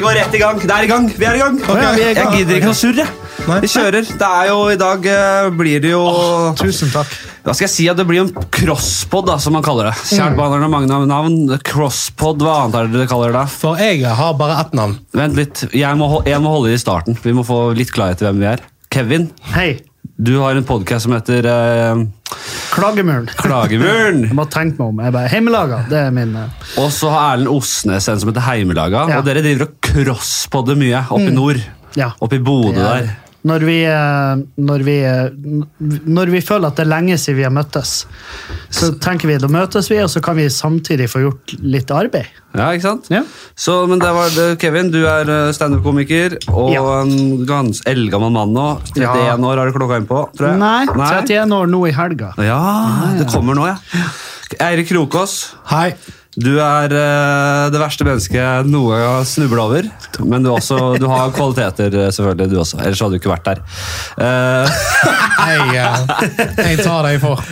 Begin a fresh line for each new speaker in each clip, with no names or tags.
går rett i gang. Det er i gang. Vi er i gang.
ja, vi er i gang.
Jeg gidder ikke å surre.
Nei.
Vi kjører. Det er jo I dag eh, blir det jo
Tusen takk.
Hva skal jeg si? at Det blir jo en crosspod, da, som man kaller det.
Mm.
Kjært barn har noen mange navn. Crosspod, hva annet er det dere kaller det? da?
For jeg har bare ett navn.
Vent litt. Jeg må, hol- jeg må holde i starten. Vi må få litt klarhet i hvem vi er. Kevin,
Hei,
du har en podkast som heter eh,
Klagemuren.
Klagemuren.
Jeg må tenke meg om. Jeg bare, Hjemmelaga, det er min eh,
Og så har Erlend Osnes en som heter Heimelaga.
Ja.
Og dere driver og crosspodder mye
Mm.
oppe i nord.
Ja.
Oppe i Bodø
Ja.
der.
Når vi, eh, når, vi, eh, n- når vi føler at det er lenge siden vi har møttes, så tenker vi da møtes vi, og så kan vi samtidig få gjort litt arbeid.
Ja, ikke sant?
Ja.
Så, men det var det, Kevin, du er eh, standup-komiker og
Ja.
en gans eldgammel mann nå. 31
Ja.
år har du klokka inn på, tror jeg.
Nei, 31 år nå i helga.
Ja, det kommer nå, ja. Eirik Krokås,
Hei.
du er eh, det verste mennesket jeg noen gang har snublet over. Men du, også, du har kvaliteter, eh, selvfølgelig, du også. Ellers hadde du ikke vært der. Eh,
Jeg, eh, jeg tar deg for.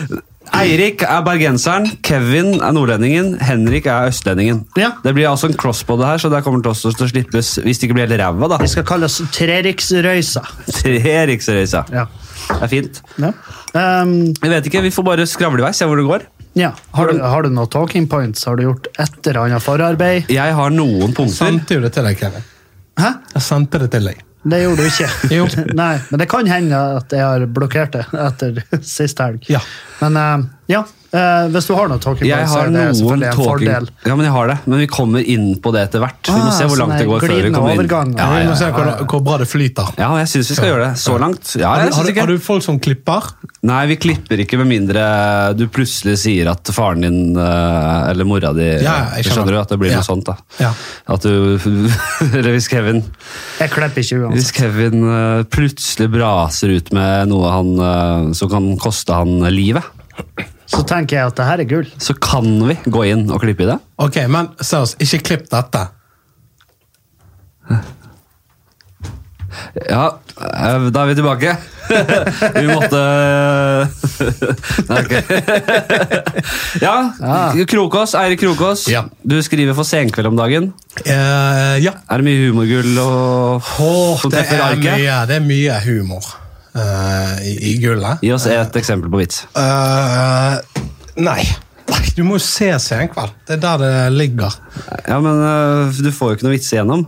Eirik er bergenseren, Kevin er nordlendingen, Henrik er østlendingen.
Ja.
Det blir altså en crossbody her, så det kommer til også til å slippes hvis det ikke blir helt ræva, da.
Vi skal kalle oss Treriksrøysa.
Tre riksreiser.
Ja.
Det er fint.
Ja. Um,
Jeg vet ikke, Vi får bare skravle i vei, se hvor det går.
ja. Har, du, har du noen talking points? Har du gjort et eller annet forarbeid?
Jeg har noen
Jeg
punkter.
sendte jo det til deg, Kevin.
Hæ?
Jeg sendte det til deg.
Det gjorde du ikke.
Jo.
Nei, men det kan hende at jeg har blokkert det etter sist helg.
Ja.
Men eh, ja, eh, hvis du har noe talking
Jeg
points, så
har
er det
noen
selvfølgelig en
talking
fordel.
Ja, men jeg har det, men vi kommer inn på det etter hvert. Vi må
Ah,
se hvor langt
sånn
det går
en
før vi
glidende
kommer inn.
overgang.
Ja,
Vi
ja,
må se
ja.
hvor, hvor bra det flyter.
ja jeg syns vi skal gjøre det. Så langt. Ja,
Har,
jeg
du-
synes
har, du-
ikke.
har du folk som klipper?
Nei, vi klipper ikke med mindre du plutselig sier at faren din eh, eller mora di
Ja, jeg skjønner.
Skjønner du at det blir
Ja.
noe sånt, da.
Ja.
At du Eller hvis Kevin
Jeg klipper ikke uansett.
Hvis Kevin eh, plutselig braser ut med noe han, eh, som kan koste han livet,
Så tenker jeg at det her er gull.
så kan vi gå inn og klippe i det.
Ok, men seriøst, ikke klipp dette.
Ja, eh, da er vi tilbake. vi måtte eh, Nei, ok. Ja, Krokås, Eirik Krokås.
Ja.
Du skriver for Senkveld om dagen.
Eh, ja.
Er det mye humorgull og
Åh,
som
det,
treffer
er
arket?
mye, det er mye humor eh, i, i gullet.
Gi oss et eksempel på vits.
Eh, nei. Nei, Du må jo se Senkveld. Det er der det ligger.
Ja, men eh, du får jo ikke noe vits igjennom.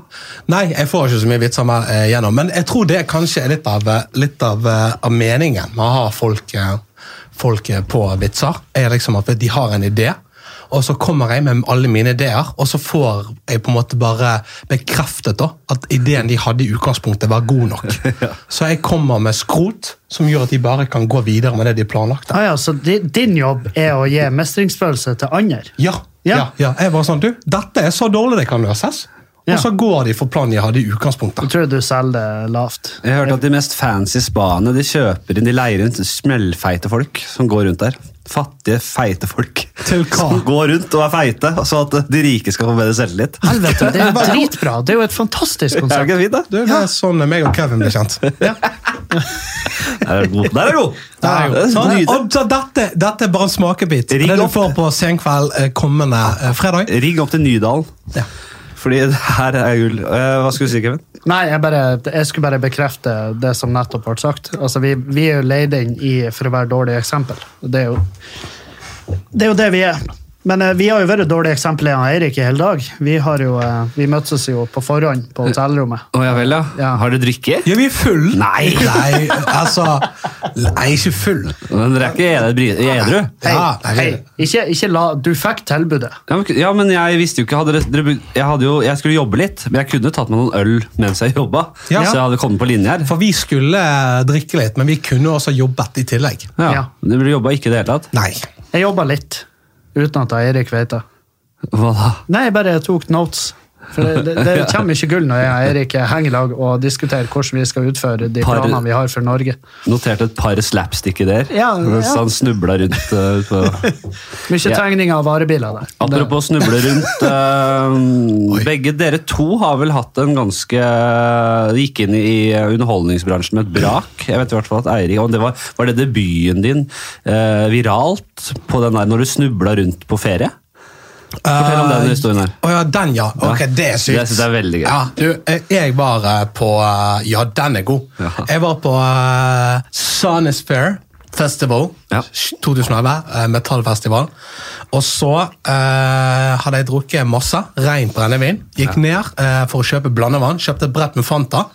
Nei, jeg får ikke så mye vitser mer eh, gjennom, men jeg tror det kanskje er litt av, eh, litt av, eh, av meningen med å ha folk, eh, folk eh, på vitser. Er liksom at de har en idé, og så kommer jeg med alle mine ideer, og så får jeg på en måte bare bekreftet da, at ideen de hadde i utgangspunktet var god nok. Så jeg kommer med skrot som gjør at de bare kan gå videre med det de planlagte.
Ah, ja, så di- din jobb er å gi mestringsfølelse til andre?
Ja,
Ja.
ja. ja, Jeg var sånn, du, dette er så dårlig det kan løses.
Ja.
Og så går de for planen de hadde i utgangspunktet.
Jeg tror du selger det lavt.
Jeg hørte at de mest fancy spaene de kjøper inn, de leier inn smellfeite folk som går rundt der. Fattige, feite folk.
Til hva?
Som går rundt og er feite, så at de rike skal få bedre selvtillit.
Helvete, det er jo dritbra! Det er jo et fantastisk
Er det
konsept.
ikke fint, da?
Det er sånn meg og Kevin ble kjent.
Der er det god! Der er det god.
Der
Det
er jo-
er
Sånn,
nydelig.
og så dette, dette er bare en smakebit.
Rigg
det du
opp.
får på senkveld eh, kommende eh, fredag.
Rigg opp til Nydalen.
Ja.
Fordi det her er gull. Eh, hva skulle du si, Kevin?
Nei, jeg, bare, jeg skulle bare bekrefte det som nettopp ble sagt. Altså, vi, vi er jo leid inn i, for å være dårlige eksempel. Og Det er jo det, er jo det vi er. Men eh, vi har jo vært dårlige eksempler av Eirik i hele dag. Vi, har jo, eh, vi møttes jo på forhånd på hotellrommet.
Å ja vel,
Ja.
Har du drikke?
Ja, vi er full.
Nei.
Nei, altså Nei, ikke full.
Men dere er ikke edru- edru?
Hei,
Ja, nei, vi-
hei, ikke, ikke la Du fikk tilbudet.
Ja, men- Ja, men jeg visste jo ikke hadde dere, dere, bud- jeg, hadde jo, jeg skulle jobbe litt, men jeg kunne tatt meg noen øl mens jeg jobba.
Ja.
Så jeg hadde kommet på linje her.
For vi skulle eh, drikke litt, men vi kunne også jobbet i tillegg.
Ja.
Ja.
men Dere jobba ikke i det hele tatt?
Nei.
Jeg jobba litt, uten at Eirik vet det.
Hva da?
Nei, jeg bare tok notes. For det, det, det kommer ikke gull når jeg og Eirik henger i lag og diskuterer hvordan vi skal utføre de
Par-
planene vi har for Norge.
Noterte et par slapstick-ideer
Ja,
mens
ja.
han snubla rundt. eh, på.
Mye
Ja.
tegning av varebiler der.
Apropos snuble rundt. eh, begge dere to har vel hatt en ganske De gikk inn i eh, underholdningsbransjen med et brak. Jeg vet i hvert fall at Eirik, og det var, var det debuten din eh, viralt på den der når du snubla rundt på ferie? Fortell om den historien her.
Å ja, den, ja. Ok,
Ja.
Det er sykt.
Det synes jeg er veldig gøy.
Ja, du, eh, jeg var eh, på eh, Ja, den er god.
Ja.
Jeg var på uh, Sandnes Fair Festival
Ja.
2011, eh, metallfestival. Og så eh, hadde jeg drukket masse rent brennevin. Gikk ned eh, for å kjøpe blandevann. Kjøpte et brett med Fanta.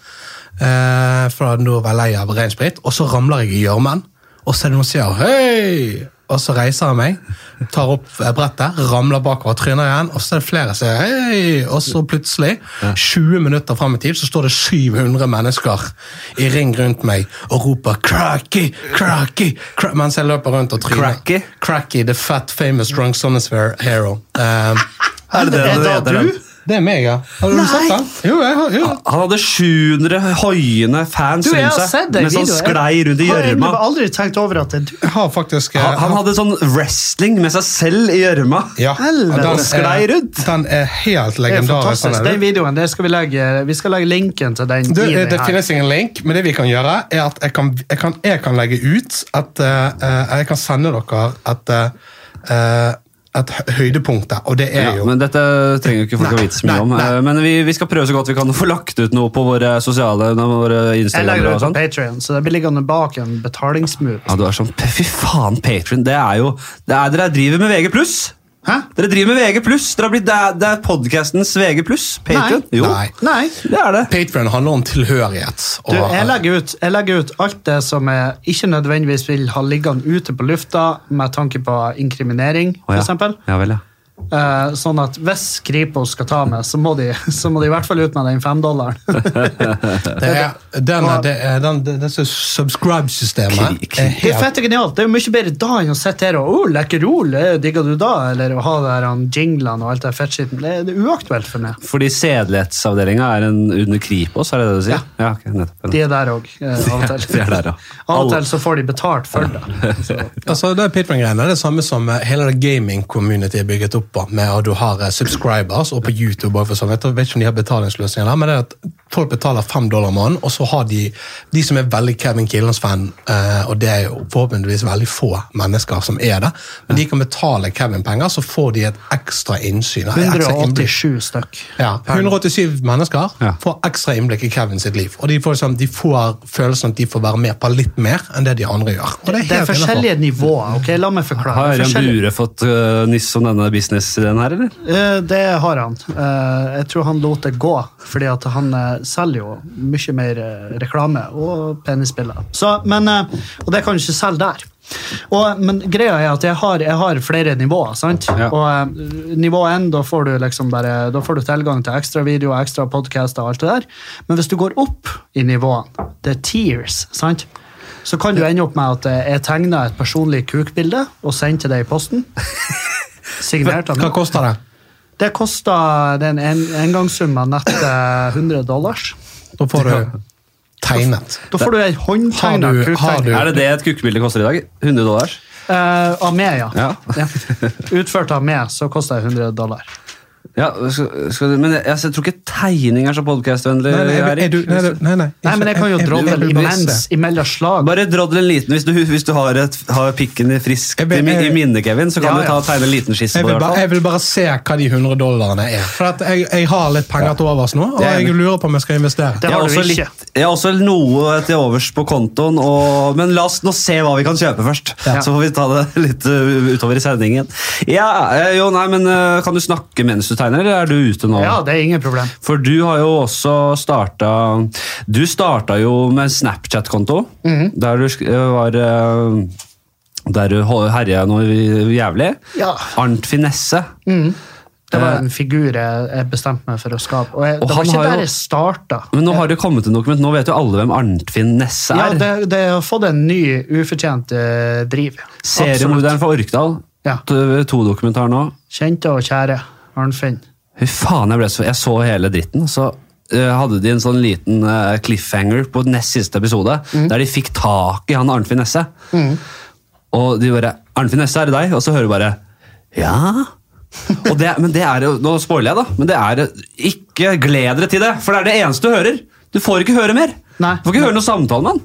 Uh, for nå var jeg lei av ren sprit. Og så ramler jeg i gjørmen, og så er det noen som sier hei! Og så reiser jeg meg, tar opp eh, brettet, ramler bakover, tryner igjen, og så er det flere som sier hei! Og så plutselig, 20 minutter fram i tid, så står det 700 mennesker i ring rundt meg og roper 'cracky, cracky', cra mens jeg løper rundt og tryner.
Cracky?
Cracky, the fat, famous drunk sonosphere hero. Eh,
Er det det
Er
du
det
heter,
du?
den?
det er meg, ja. Har du sett den? Jo, jeg har jo.
Han hadde 700 hoiende fans
Du, jeg
rundt
har
seg
sett den
mens han
videoen.
sånn sklei rundt i
Har egentlig
gjørma.
bare aldri tenkt over at det er du.
Jeg har faktisk... eh,
Han, han hadde sånn wrestling med seg selv i gjørma.
Ja.
Helvete.
og
Han sklei
er,
rundt.
den er helt
Det er
legendarisk.
fantastisk.
den er
Den
det.
videoen, det skal vi legge Vi skal legge linken til den.
Du,
i
eh,
den
det
her.
finnes ingen link, men det vi kan gjøre, er at jeg kan, jeg kan, jeg kan legge ut at eh, eh, jeg kan sende dere et, eh, eh, et hø- høydepunkt der, og det er
Ja,
jo
men Dette trenger jo ikke folk å
Nei,
vite så mye
nei,
om.
nei.
eh, Men vi, vi skal prøve så godt vi kan å få lagt ut noe på våre sosiale våre
Jeg legger
Instagram.
det
og
ut på
sånn.
Patreon, så det blir liggende bak en betalingsmur.
Ja, du er sånn, Fy faen, Patron. Det er jo det er, Dere driver med VG+.
Hæ?
Dere driver med VG+. Dere har blitt, det er, det er podcastens VG+. Patron.
Nei.
Jo,
Nei.
Nei.
det er det.
Patreon handler om tilhørighet.
Du, jeg, legger ut, jeg legger ut alt det som jeg ikke nødvendigvis vil ha liggende ute på lufta, med tanke på inkriminering,
Å,
f.eks.
ja. ja vel, ja.
Eh, sånn at hvis Kripos skal ta meg, så må de, så må de i hvert fall ut med den femdollaren.
det er, den, er- det er, den, det, det er så subscribe-systemet
Kli- kli-
er
Det er
helt
fett genialt. Det er jo mye bedre da enn å sitte her og oh, lekkerol, eh, digger du da? Eller å ha der han jinglene og alt det fettskitten. Det, det er uaktuelt for meg.
Fordi sedelighetsavdelinga er en under Kripos, er det det du sier? Ja, ok, nettopp.
De er der òg, eh, av og til.
De er der, ja.
Av og til så får de betalt for det. Så.
Altså, det er Patreon-greiene. Det er det samme som eh, hele det gaming-community er bygget opp på, med at du har eh, subscribers, og på YouTube og for sånn. Jeg vet ikke om de har betalingsløsninger der, men det er at folk betaler fem dollar måneden, og så har de de som er veldig Kevin Killens-fan, eh, og det er jo forhåpentligvis veldig få mennesker som er det, men de kan betale Kevin-penger, så får de et ekstra innsyn. et ekstra innblikk.
187 stykk.
Ja, 187 mennesker
Ja.
får ekstra innblikk i Kevin sitt liv. Og de får, sånn, de får følelsen at de får være med på litt mer enn det de andre gjør. Og
Det er,
helt innenfor.
forskjellige nivåer. ok? La meg forklare.
Har
Det er
Ørjan
forskjellige-
Bure fått uh, nyss om denne businessideen her, eller?
Eh, Det har han. Eh, Jeg tror han lot det gå, fordi at han eh, selger jo mye mer eh, reklame og penisbilder. Så, men, eh, og det kan du ikke selge der. Og, men greia er at jeg har, jeg har flere nivåer. sant?
Ja.
Og eh, nivå 1, da får du liksom bare, da får du tilgang til ekstra videoer, ekstra podcaster og alt det der. Men hvis du går opp i nivåene, det er tears, sant? så kan du ende opp med at eh, jeg tegner et personlig kukbilde og sender til deg i posten. Signert av meg.
Hva koster det?
Det kosta den en, engangssum av nett eh, 100 dollars.
Da får du tegnet.
Da får du ei håndtegna
Har du- har du-
kuktegning.
Er det det et kukkebilde koster i dag? 100 dollar?
Eh, av meg, ja.
Ja.
Ja. Utført av meg, så kosta det 100 dollar.
Ja, skal, skal, men jeg, jeg tror ikke tegning er så podkastvennlig.
Nei, nei, er du- nei, du- nei, nei.
Nei, men jeg kan jo
Jeg- jeg- jeg-
drodle
jeg- jeg-
imens imellom slag.
Bare drodle en liten hvis du, hvis du har, et, har pikken i frisk
Jeg ber-
i, mi- i
jeg-
minnet, Kevin, så kan
Ja,
du
ja.
ta og tegne en liten skisse
Jeg
på det.
vil,
i
bare,
hvert fall.
jeg vil bare se hva de 100 dollarene er. For at jeg, jeg har litt penger til overs nå, og
Det er
jeg
enig.
lurer på om jeg skal investere.
Det
Jeg
har
har,
du
også
ikke.
litt, jeg har også noe til overs på kontoen, og, men la oss nå se hva vi kan kjøpe først.
Ja.
Så får vi ta det litt uh, utover i sendingen. Ja, eh, jo, nei, men uh, Kan du snakke mens du tegner, eller er du ute nå?
Ja, det er ingen problem.
For du har jo også starta Du starta jo med en Snapchat-konto,
Mhm.
der du sk- eh, var eh, Der du ho- herja noe jævlig.
Ja. Mm.
Arnt Finesse.
Det
Eh.
var en figur jeg, jeg bestemte meg for å skape. Og jeg,
Og han
det var ikke
har jo-
der jeg starta.
Men nå har det kommet en dokument, nå vet jo alle hvem Arnfinn Nesse
Ja,
er.
det, det har fått en ny, ufortjent eh, driv.
Seriemorderen fra Orkdal.
Ja.
To-dokumentar nå.
Kjente og kjære Arnfinn.
Fy faen, jeg, ble så, jeg så hele dritten. Så eh, hadde de en sånn liten eh, cliffhanger på nest siste episode,
Mm.
der de fikk tak i han Arnfinn Nesse. Og de bare 'Arnfinn Nesse, er det deg?' Og så hører du bare 'Ja'. Og det, men det er jo, Nå spoiler jeg, da, men det er ikke gled dere til det, for det er det eneste du hører. Du får ikke høre mer.
Nei.
du får ikke høre noe samtale med han.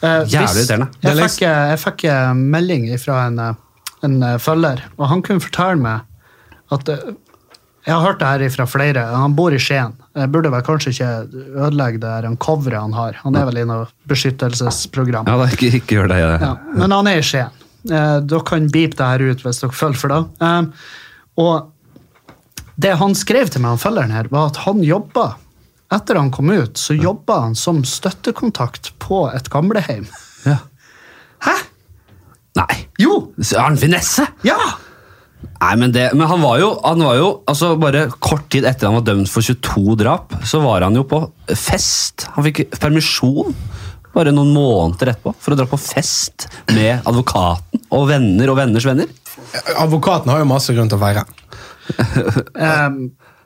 Eh,
Jævlig
hvis-
irriterende.
Jeg
Det er
fikk, eh, jeg fikk eh, melding fra en, eh, en eh, følger, og han kunne fortelle meg At, eh, jeg har hørt det her fra flere. Han bor i Skien. Jeg burde vel kanskje ikke ødelegge det her han coveret han har. Han er vel i noe beskyttelsesprogram.
Ja, da, ikke, ikke gjør det. Ja.
Ja, men han er i Skien. Eh, dere kan beepe det her ut hvis dere følger for det. Eh, og det han skrev til meg, han følgeren her, var at han jobba Etter han kom ut, så jobba han som støttekontakt på et gamlehjem.
Ja.
Hæ?
Nei,
Jo!
så har han finesse?
Ja!
Nei, men, det, men han var jo, han var jo altså bare Kort tid etter han var dømt for 22 drap, så var han jo på fest. Han fikk permisjon bare noen måneder etterpå for å dra på fest med advokaten og venner og venners venner.
Advokaten har jo masse grunn til å feire.
Eh,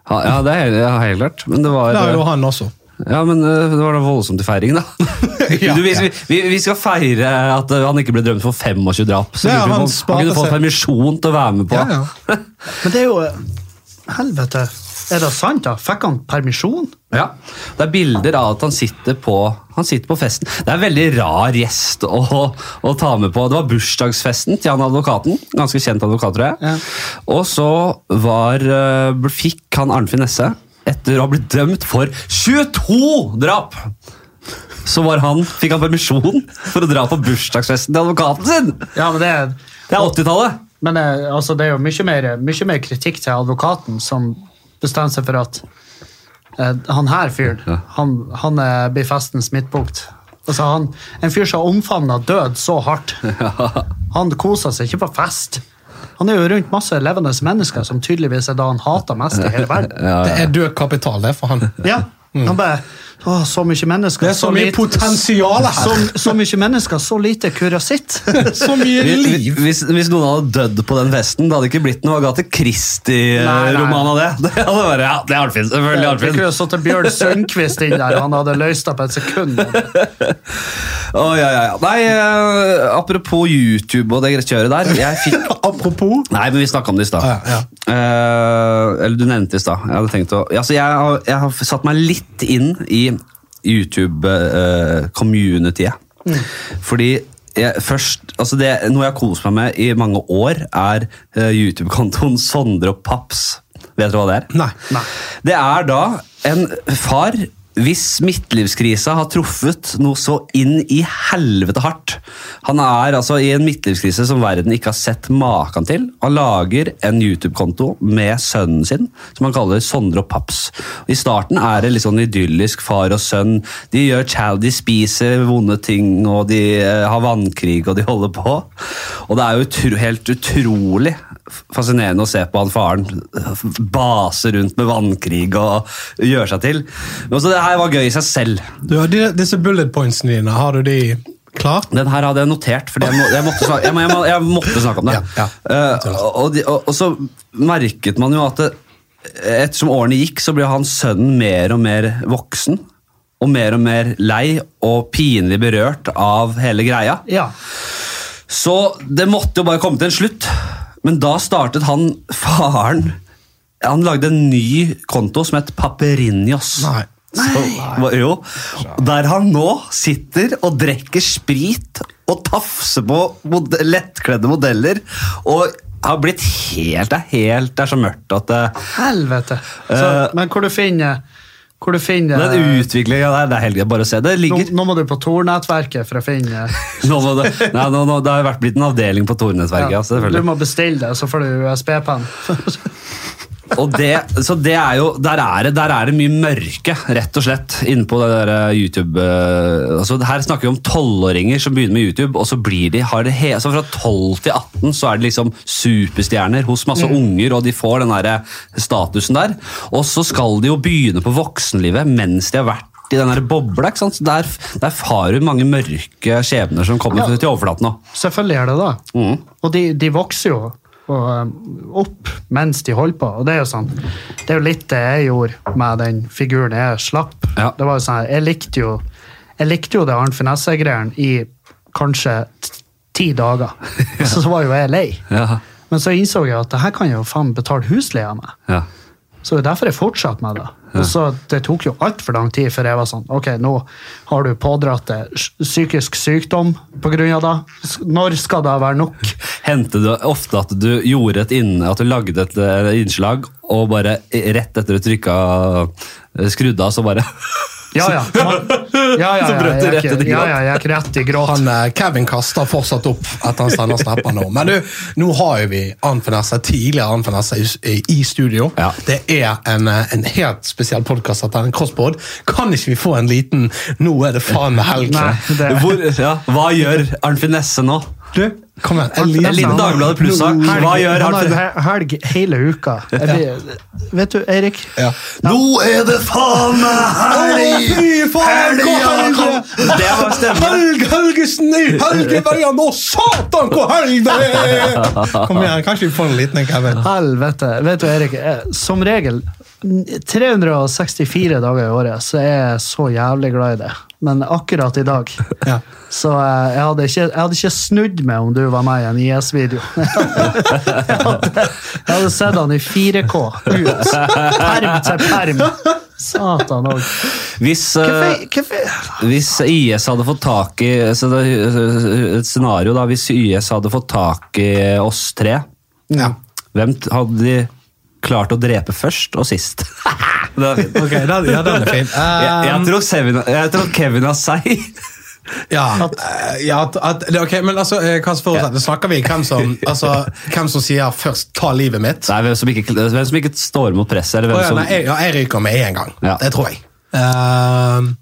Ja, ja det er ja, helt klart. Men det var
Det har jo han også.
Ja, men eh, det var da voldsomt i feiringen, da.
Ja,
du, vi,
ja.
vi, vi skal feire at eh, han ikke ble dømt for 25 drap. Så
Ja,
lurer vi på
han
om
sparte
han kunne fått
seg.
permisjon til å være med på.
Ja, ja.
men det er jo eh, Helvete. Er det sant, da? Fikk han permisjon?
Ja, Det er bilder av at han sitter på, han sitter på festen. Det er en veldig rar gjest å, å ta med på. Det var bursdagsfesten til han advokaten. Ganske kjent advokat, tror jeg.
Ja.
Og så var, eh, fikk han Arnfinn Nesse, etter å ha blitt dømt for 22 drap, så var han, fikk han permisjon for å dra på bursdagsfesten til advokaten sin!
Ja, men det er
Det er 80-tallet!
Men eh, altså, det er jo mye mer, mye mer kritikk til advokaten som bestemmer seg for at eh, han her fyren,
Ja.
han, han eh, blir festens midtpunkt. Altså, han, en fyr som har omfavna død så hardt. Han koser seg ikke på fest. Han er jo rundt masse levende mennesker som tydeligvis er da han hater mest i hele verden.
Det er død kapital, det, for han.
Ja, han bare, å, så mye mennesker.
Mm. Det er så mye
lite-
potensial her.
Så, så mye mennesker, så lite kurasitt.
Så mye
Hvis,
liv!
hvis, hvis noen hadde dødd på den festen, det hadde ikke blitt noe Agathe
Nei, nei.
Christie-roman av det. Det hadde vært, ja, det er Arnfinn. Selvfølgelig
Vi
Arnfinn.
kunne satt Bjørn Sundquist inn der, og han hadde løst det på et sekund.
Å, ja, ja, ja. Nei, eh, apropos YouTube og det kjøret der. Jeg fikk
Apropos
Nei, men vi snakka om det i stad.
Ja, ja.
Eh, eller du nevnte det i stad. Jeg hadde tenkt å altså, jeg, har, jeg har satt meg litt inn i YouTube-communityet.
Mm.
Fordi jeg, først, altså det, Noe jeg har kost meg med i mange år, er eh, YouTube-kontoen Sondre og Paps. Vet du hva det er?
Nei.
Det er da en far hvis midtlivskrisa har truffet noe så inn i helvete hardt. Han er altså i en midtlivskrise som verden ikke har sett maken til. Han lager en YouTube-konto med sønnen sin, som han kaller Sondre og Paps. I starten er det litt sånn idyllisk far og sønn. De gjør chal, de spiser vonde ting, og de eh, har vannkrig, og de holder på. Og det er jo utro, helt utrolig fascinerende å se på han faren base rundt med vannkrig og gjøre seg til. Men også det her var gøy i seg selv.
Du, de, Disse bullet pointsene dine, har du de klart?
Den her hadde jeg notert, fordi jeg, må, jeg, måtte, snakke, jeg, må, jeg, må, jeg måtte snakke om det.
Ja, ja.
Eh, og, de, og, og så merket man jo at det, ettersom årene gikk, så ble han sønnen mer og mer voksen. Og mer og mer lei og pinlig berørt av hele greia.
Ja.
Så det måtte jo bare komme til en slutt. Men da startet han faren Han lagde en ny konto som het Paperinios.
Nei.
Så, hva- jo, der han nå sitter og drikker sprit og tafser på mod lettkledde modeller. Og har blitt helt Det er helt Det er så mørkt at det,
Helvete. Så,
Eh,
men hvor du finner Hvor du finner
Den utviklinga der, det er helt greit. Bare å se. Det
nå,
ligger
nå må du på Tor-nettverket for å finne
nå, må det- nei, nå, nå, Det har jo vært blitt en avdeling på Tor-nettverket.
ja,
Ja, selvfølgelig.
Du må bestille det, så får du USB-penn.
Og det, så det er jo, der er det, der er det mye mørke, rett og slett, inne på det der eh, YouTube. eh, Altså, her snakker vi om tolvåringer som begynner med YouTube, og så blir de, har det he, så fra 12 til 18 så er det liksom superstjerner hos masse unger, og de får den der eh, statusen der. Og så skal de jo begynne på voksenlivet mens de har vært i den der bobla, ikke sant? Så Der, der har du mange mørke skjebner som kommer
Ja.
til overflaten nå.
Selvfølgelig er det det.
Mm.
Og de, de vokser jo og, um, opp mens de holder på, og det er jo sånn. Det er jo litt det jeg gjorde med den figuren jeg slapp.
Ja.
Det var jo sånn, her, Jeg likte jo, jeg likte jo det Arnt Finesse-greiene i kanskje t- ti dager, og så var jo jeg lei.
Ja,
Men så innså jeg at det her kan jeg jo faen betale husleia med.
ja.
Så det er derfor jeg fortsatte med det. Og så Det tok jo altfor lang tid før jeg var sånn Ok, nå har du pådratt deg psykisk sykdom pga. det. S- Når skal det være nok?
Hendte det ofte at du gjorde et inn, at du lagde et eh, innslag, og bare rett etter du trykka eh, skrudde av, så bare
Ja, ja. Man, ja, ja, ja,
Så brøt det
jeg er
rett
ikke-
i gråt.
Ja, ja, jeg er ikke rett i gråt.
Han, eh, Kevin kaster fortsatt opp etter han sender snapper nå. Men du, nå har jo vi Ann Finesse, tidligere Ann Finesse i, i studio.
Ja.
Det er en, eh, en helt spesiell podkast etter en crossboard. Kan ikke vi få en liten 'nå er det faen meg helg'?
Nei, det,
Hvor, ja, Hva gjør Arnfinn Nesse nå?
Du, kom igjen. En
En liten Dagbladet Pluss-sak.
Nå-
Hva gjør
han har
Arnfinn?
he- helg hele uka. Jeg blir, vet du, Eirik?
Ja. Nå er det faen meg helg! Helga kom!
Det var stemmen.
Helg Helgesen i Helgeveien og satan hvor helg det er! Kom igjen, kanskje vi får en liten en, Kevin.
Helvete. Vet du, Erik, eh, som regel n- 364 dager i året så er jeg så jævlig glad i det. Men akkurat i dag
Ja.
Så eh, jeg hadde ikke, jeg hadde ikke snudd meg om du var med i en IS-video. jeg, hadde- jeg hadde sett han i 4K ut. Perm til perm. Satan òg.
Hvis, eh, hvis IS hadde fått tak i så det, er Et scenario, da. Hvis IS hadde fått tak i oss tre,
Ja.
hvem t- hadde de klart å drepe først og sist? det var fint.
Ok, den, ja, den er fin.
Jeg, jeg,
Um,
tror Sevin, jeg tror Kevin har seg.
Ja, eh, ja at, at, det- ok, men altså, eh, hva som forutsett- snakker vi hvem som, altså, hvem som sier først 'ta livet mitt'?
Nei, hvem som ikke, hvem som ikke står imot presset. Eller
Å
hvem
ja,
som,
nei, jeg, ja, jeg ryker med en gang.
Ja.
Det tror jeg. Um,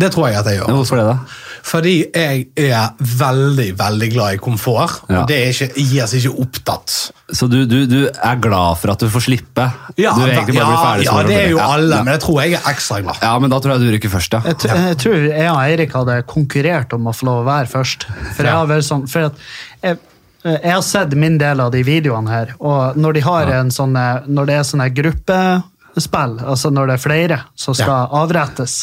det tror jeg at jeg gjør.
Ja, Hvorfor det, da?
Fordi jeg er veldig, veldig glad i komfort, og
Ja.
det er ikke, gir oss ikke opptatt.
Så du, du, du er glad for at du får slippe? du vil egentlig bare bli ferdig
ja,
som
det er jo
programleder.
alle,
Ja,
men jeg tror jeg er ekstra glad.
ja. ja, men da tror jeg du rykker først, ja.
Jeg, tr- jeg tror jeg og Eirik hadde konkurrert om å få lov å være først. For jeg
Ja.
har vært sånn, for at jeg, jeg har sett min del av de videoene her, og når, de har en sånn, eh, når det er sånne gruppespill, altså når det er flere som skal avrettes,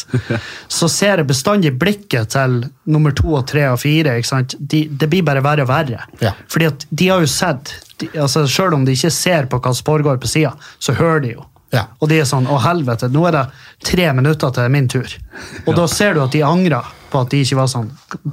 så ser jeg bestandig blikket til nummer to og tre og fire. Ikke sant? De, det blir bare verre og verre.
Ja.
Fordi at de har jo sett, de, altså selv om de ikke ser på hva som foregår på sida, så hører de jo.
Ja.
Og de er sånn 'Å, helvete, nå er det tre minutter til min tur'. Og da ser du at de angrer på at de ikke var sånn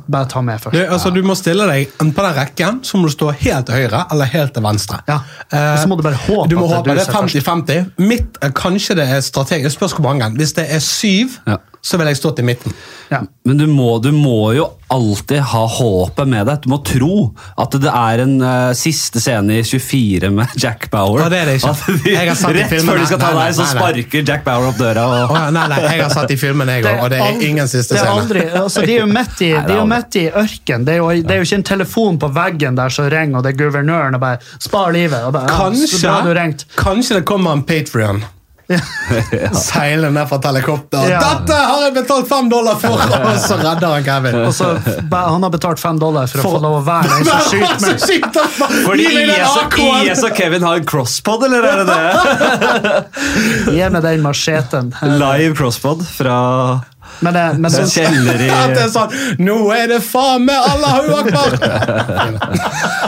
'Bare ta med
Du,
først'.
altså, du må stille deg enten på den rekken, så må du stå helt til høyre eller helt til venstre. Eh,
Ja. Og så må du bare håpe
du må
at det
håpe
er du
det
som er først.
er 50-50. Mitt er kanskje det er strategisk. Det Spørs hvor mange. Hvis det er syv,
Ja.
så vil jeg stå til midten.
Ja.
Men du må, du må jo alltid ha håpet med deg. Du må tro at det er en eh, siste scene i 24 med Jack Bauer.
Ja, det er det ikke.
At de,
Jeg har sett i
rett
filmen,
før de skal ta
nei, nei,
deg, så
nei, nei.
sparker Jack Bauer opp døra.
Å,
Og,
nei, nei, jeg har satt i filmen, jeg òg, og det er
aldri-
ingen siste
det er
scene.
aldri, altså, de er jo midt i,
Nei, det er
de er jo
aldri.
midt i ørken. Det er, jo, det er jo ikke en telefon på veggen der som ringer, og det er guvernøren og bare 'Spar livet'. Og bare, ja, så
Kanskje,
bra du ringte.
kanskje det kommer en Patrion. Seilende ned fra et helikopter.
Ja.
'Dette har jeg betalt fem dollar for!' Og så redder han Kevin.
Og så, bare, han har betalt fem dollar for,
For-
å få lov å være den som skyter meg.
fordi IS og, IS og Kevin har en crosspod, eller er det det?
Gi meg den macheten.
Live crosspod fra
Men, det- men
en
det-
kjeller i
At Altså- det er sånn Nå er det faen meg Allahu akbar!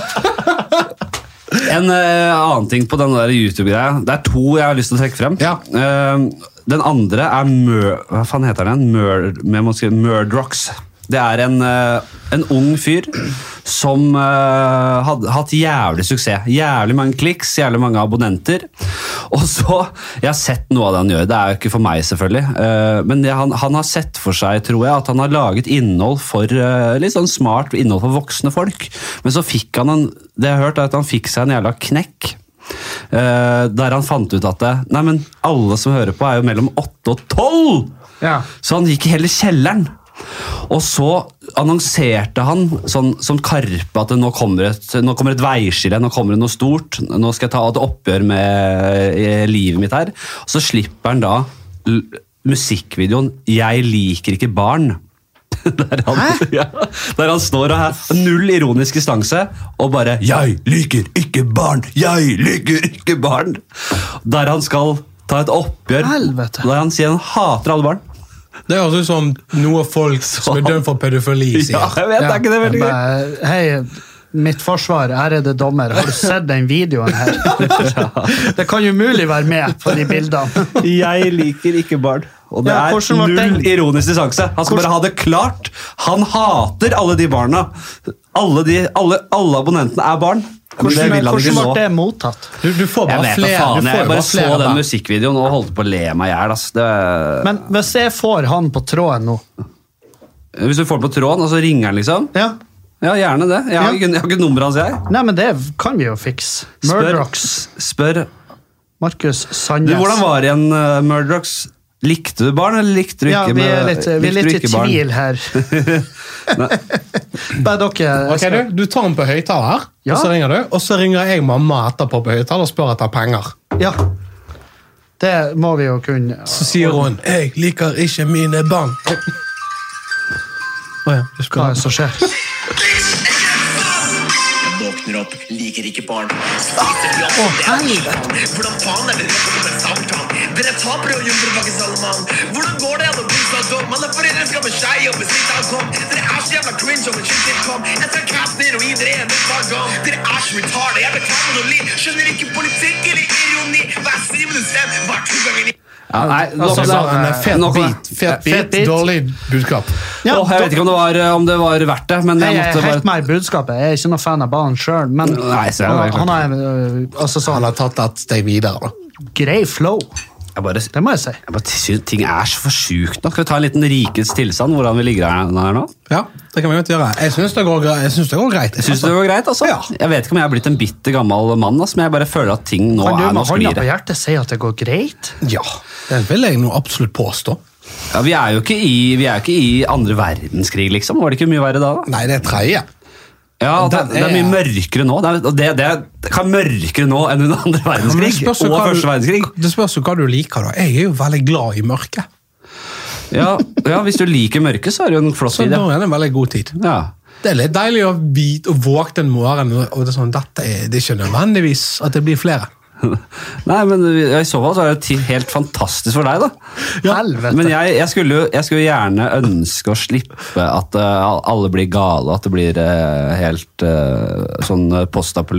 En eh, annen ting på den der YouTube-greia. Det er to jeg har lyst til å trekke frem.
Ja.
Eh, den andre er Mur... Hva faen heter den? Mur, med må skrive Murdrocks. Det er en, eh, en ung fyr som eh, hadde hatt jævlig suksess. Jævlig mange kliks, jævlig mange abonnenter. Og så Jeg har sett noe av det han gjør. Det er jo ikke for meg, selvfølgelig. eh, men det, han, han har sett for seg, tror jeg, at han har laget innhold for eh, litt sånn smart innhold for voksne folk. Men så fikk han en Det jeg har hørt, er at han fikk seg en jævla knekk. eh, der han fant ut at det, Nei, men alle som hører på, er jo mellom åtte og tolv!
ja.
Så han gikk i hele kjelleren. Og så annonserte han sånn, som Karpe at det nå kommer, et, nå kommer et veiskille, nå kommer det noe stort. Nå skal jeg ta et oppgjør med eh, livet mitt her. Og så slipper han da l musikkvideoen 'Jeg liker ikke barn'. Der han, ja, der han står og har null ironisk distanse og bare 'Jeg liker ikke barn! Jeg liker ikke barn!' Der han skal ta et oppgjør
Helvete.
der han sier han hater alle barn.
Det høres ut som noe folk som er dømt for pedofili, sier.
Ja, jeg vet, er ikke det veldig gøy?
Bare, Hei, mitt forsvar, ærede dommer, har du sett den videoen her? Det kan jo mulig være med på de bildene.
Jeg liker ikke barn. Og det
Ja, hvordan var
er null
den?
ironisk distanse. Han skal bare ha det klart. Han hater alle de barna. Alle, de, alle, alle abonnentene er barn. Men det
Hvordan,
vil han ikke
hvordan
nå.
ble det mottatt?
Du, du får
Jeg
bare
vet da
flere.
faen,
du får
jeg
jo
bare
bare
så
flere
den
band.
musikkvideoen og holdt på å le meg i hjel. ass. Det-
Men hvis jeg får han på tråden nå
Eh, Hvis du får den på tråden, og så ringer han, liksom.
ja.
Ja, gjerne det. Jeg har,
Ja.
ikke, jeg har ikke nummeret hans, jeg.
Nei, men det kan vi jo fikse. Murdrocks.
spør
Markus
du,
Sandnes.
Hvordan var det igjen, uh, Murdrocks? Likte du barn, eller likte du ikke
ja, vi er
med-
litt, vi er
likte du
litt i
ikke barn?
tvil her.
Nei.
Bare dere
Ok, du, du tar den på høyttaler,
Ja.
og så ringer du. Og så ringer jeg mamma etterpå på høyttaler og spør etter penger.
Ja. Det må vi jo kunne.
Så sier hun 'Jeg liker ikke mine barn'. Å ja, du
Hva
skal
er det som skjer?
Jeg våkner opp, liker ikke barn. Spiser bjørn. Hvordan faen er det rett over Southampton? Dere taper jo Jumperbakke Salman. Hvordan går det an å bli så dum? Alle foreldre skal med skei og besitte av kom. Dere er så jævla cringe om en shit kom. Jeg skal kaste ned og gi dere en par gang. Dere er så retarde. Jeg betaler noe liv. Skjønner ikke politikk eller ironi. Hver syvende stem, hver to ganger ni.
Ja, nei, nok
Altså,
om
så
det.
en fet
Nok om det.
bit, fet bit,
Fet bit.
dårlig budskap.
Ja,
Åh, jeg vet ikke om det, var, uh, om det var verdt det, men
Nei,
jeg
jeg
måtte
er
bare
helt med i budskapet. Jeg er ikke noen fan av ballen sjøl, men
Nei, så er det
han,
klart.
han har øh, altså
Han
sånn
har tatt et steg videre. da.
grei flow.
Jeg bare,
Det må jeg si.
jeg bare synes ting er så for sjukt nå. Skal vi ta en liten rikets tilstand, hvordan vi ligger her her nå?
Ja, det kan vi jo ikke gjøre. Jeg syns det, går gre- jeg synes det går greit.
Syns du det var greit, altså?
Ja.
Jeg vet ikke om jeg er blitt en bitter gammel mann, ass, men jeg bare føler at ting nå
Kan du
er
med
noe
hånda på
sklir.
hjertet si at det går greit?
Ja, det vil jeg nå absolutt påstå.
Ja, vi er jo ikke i, vi er jo ikke i andre verdenskrig, liksom. Var det ikke mye verre da? da?
Nei, det er tredje.
Ja, det,
Den
det er mye
er-
mørkere nå. Det, er, det, det, det kan mørkere nå enn under andre
Men det
verdenskrig og
spørs jo hva du-
første verdenskrig.
Det spørs jo hva du liker, da. Jeg er jo veldig glad i mørket.
Ja, ja, Hvis du liker mørke, så er det jo en flott
Så
idé.
da er det en veldig god tid.
Ja.
Det er litt deilig å, vite, å våkne en morgen og det er sånn, dette er, det er ikke nødvendigvis at det blir flere.
Nei, men I så fall så er det ti- helt fantastisk for deg, da.
Helvete.
Men jeg, jeg, skulle jo, jeg skulle gjerne ønske å slippe at eh, alle blir gale, at det blir eh, helt eh, sånn eh,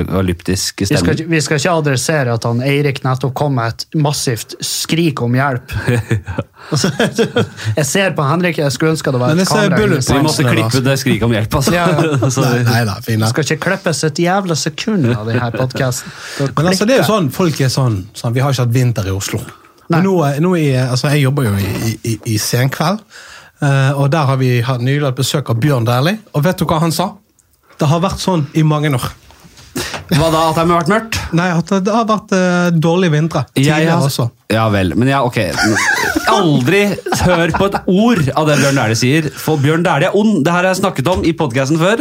postapokalyptisk
Vi skal,
stemning.
ikke- vi skal ikke adressere at han Eirik nettopp kom med et massivt skrik om hjelp. Altså, jeg ser på Henrik, jeg skulle ønske det var
Men
et
jeg ser
kamera. inne i
bullet
Vi
salen.
måtte
Vanskelig,
klippe
altså.
det skriket om hjelp, altså.
Ja, ja.
Så-
Nei, nei da, fine.
Jeg skal ikke klippes et jævla sekund av denne podkasten.
Men altså, det er jo sånn, folk er sånn, sånn Vi har ikke hatt vinter i Oslo. Men Nå, er- nå er, altså, jeg jobber jo i, i, i senkveld, eh, og der har vi hatt nylig hatt besøk av Bjørn Dæhlie. Og vet du hva han sa? Det har vært sånn i mange år.
Hva da? At det har vært mørkt?
Nei, at det har vært eh, dårlige vintre.
Jeg
Tidligere
har-
også.
Ja vel, men ja, ok. Aldri hør på et ord av det Bjørn Dæhlie sier, for Bjørn Dæhlie er ond. Det her har jeg snakket om i podkasten før.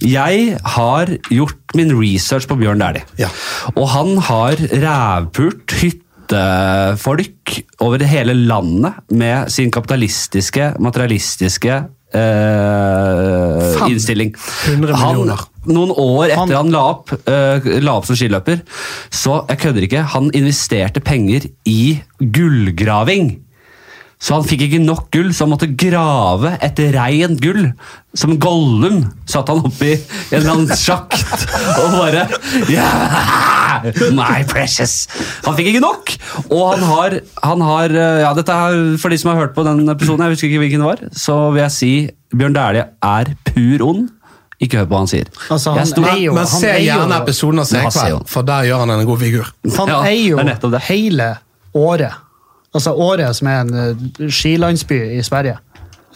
Jeg har gjort min research på Bjørn Dæhlie,
Ja.
og han har rævpult hyttefolk over hele landet med sin kapitalistiske, materialistiske eh,
Faen.
innstilling.
100 millioner.
Han, noen år etter han, la, opp, eh, la opp som skiløper, så jeg kødder ikke, han investerte penger i gullgraving. Så han fikk ikke nok gull, så han måtte grave et rent gull. Som Gollum satt han oppi en eller annen sjakt og bare yeah, My precious! Han fikk ikke nok! Og han har, han har eh, ja, dette er For de som har hørt på den episoden, jeg husker ikke hvilken det var, så vil jeg si Bjørn Dæhlie er pur ond. Ikke hør på hva han sier.
Altså, han
Jeg sto-
er jo-
Men
han
se
er jo-
gjerne episoden av
Ja, se jo.
Senkveld, for der gjør han en god figur.
Han
Ja,
eier jo
det er nettopp det.
hele Året. Altså Året, som er en eh, skilandsby i Sverige.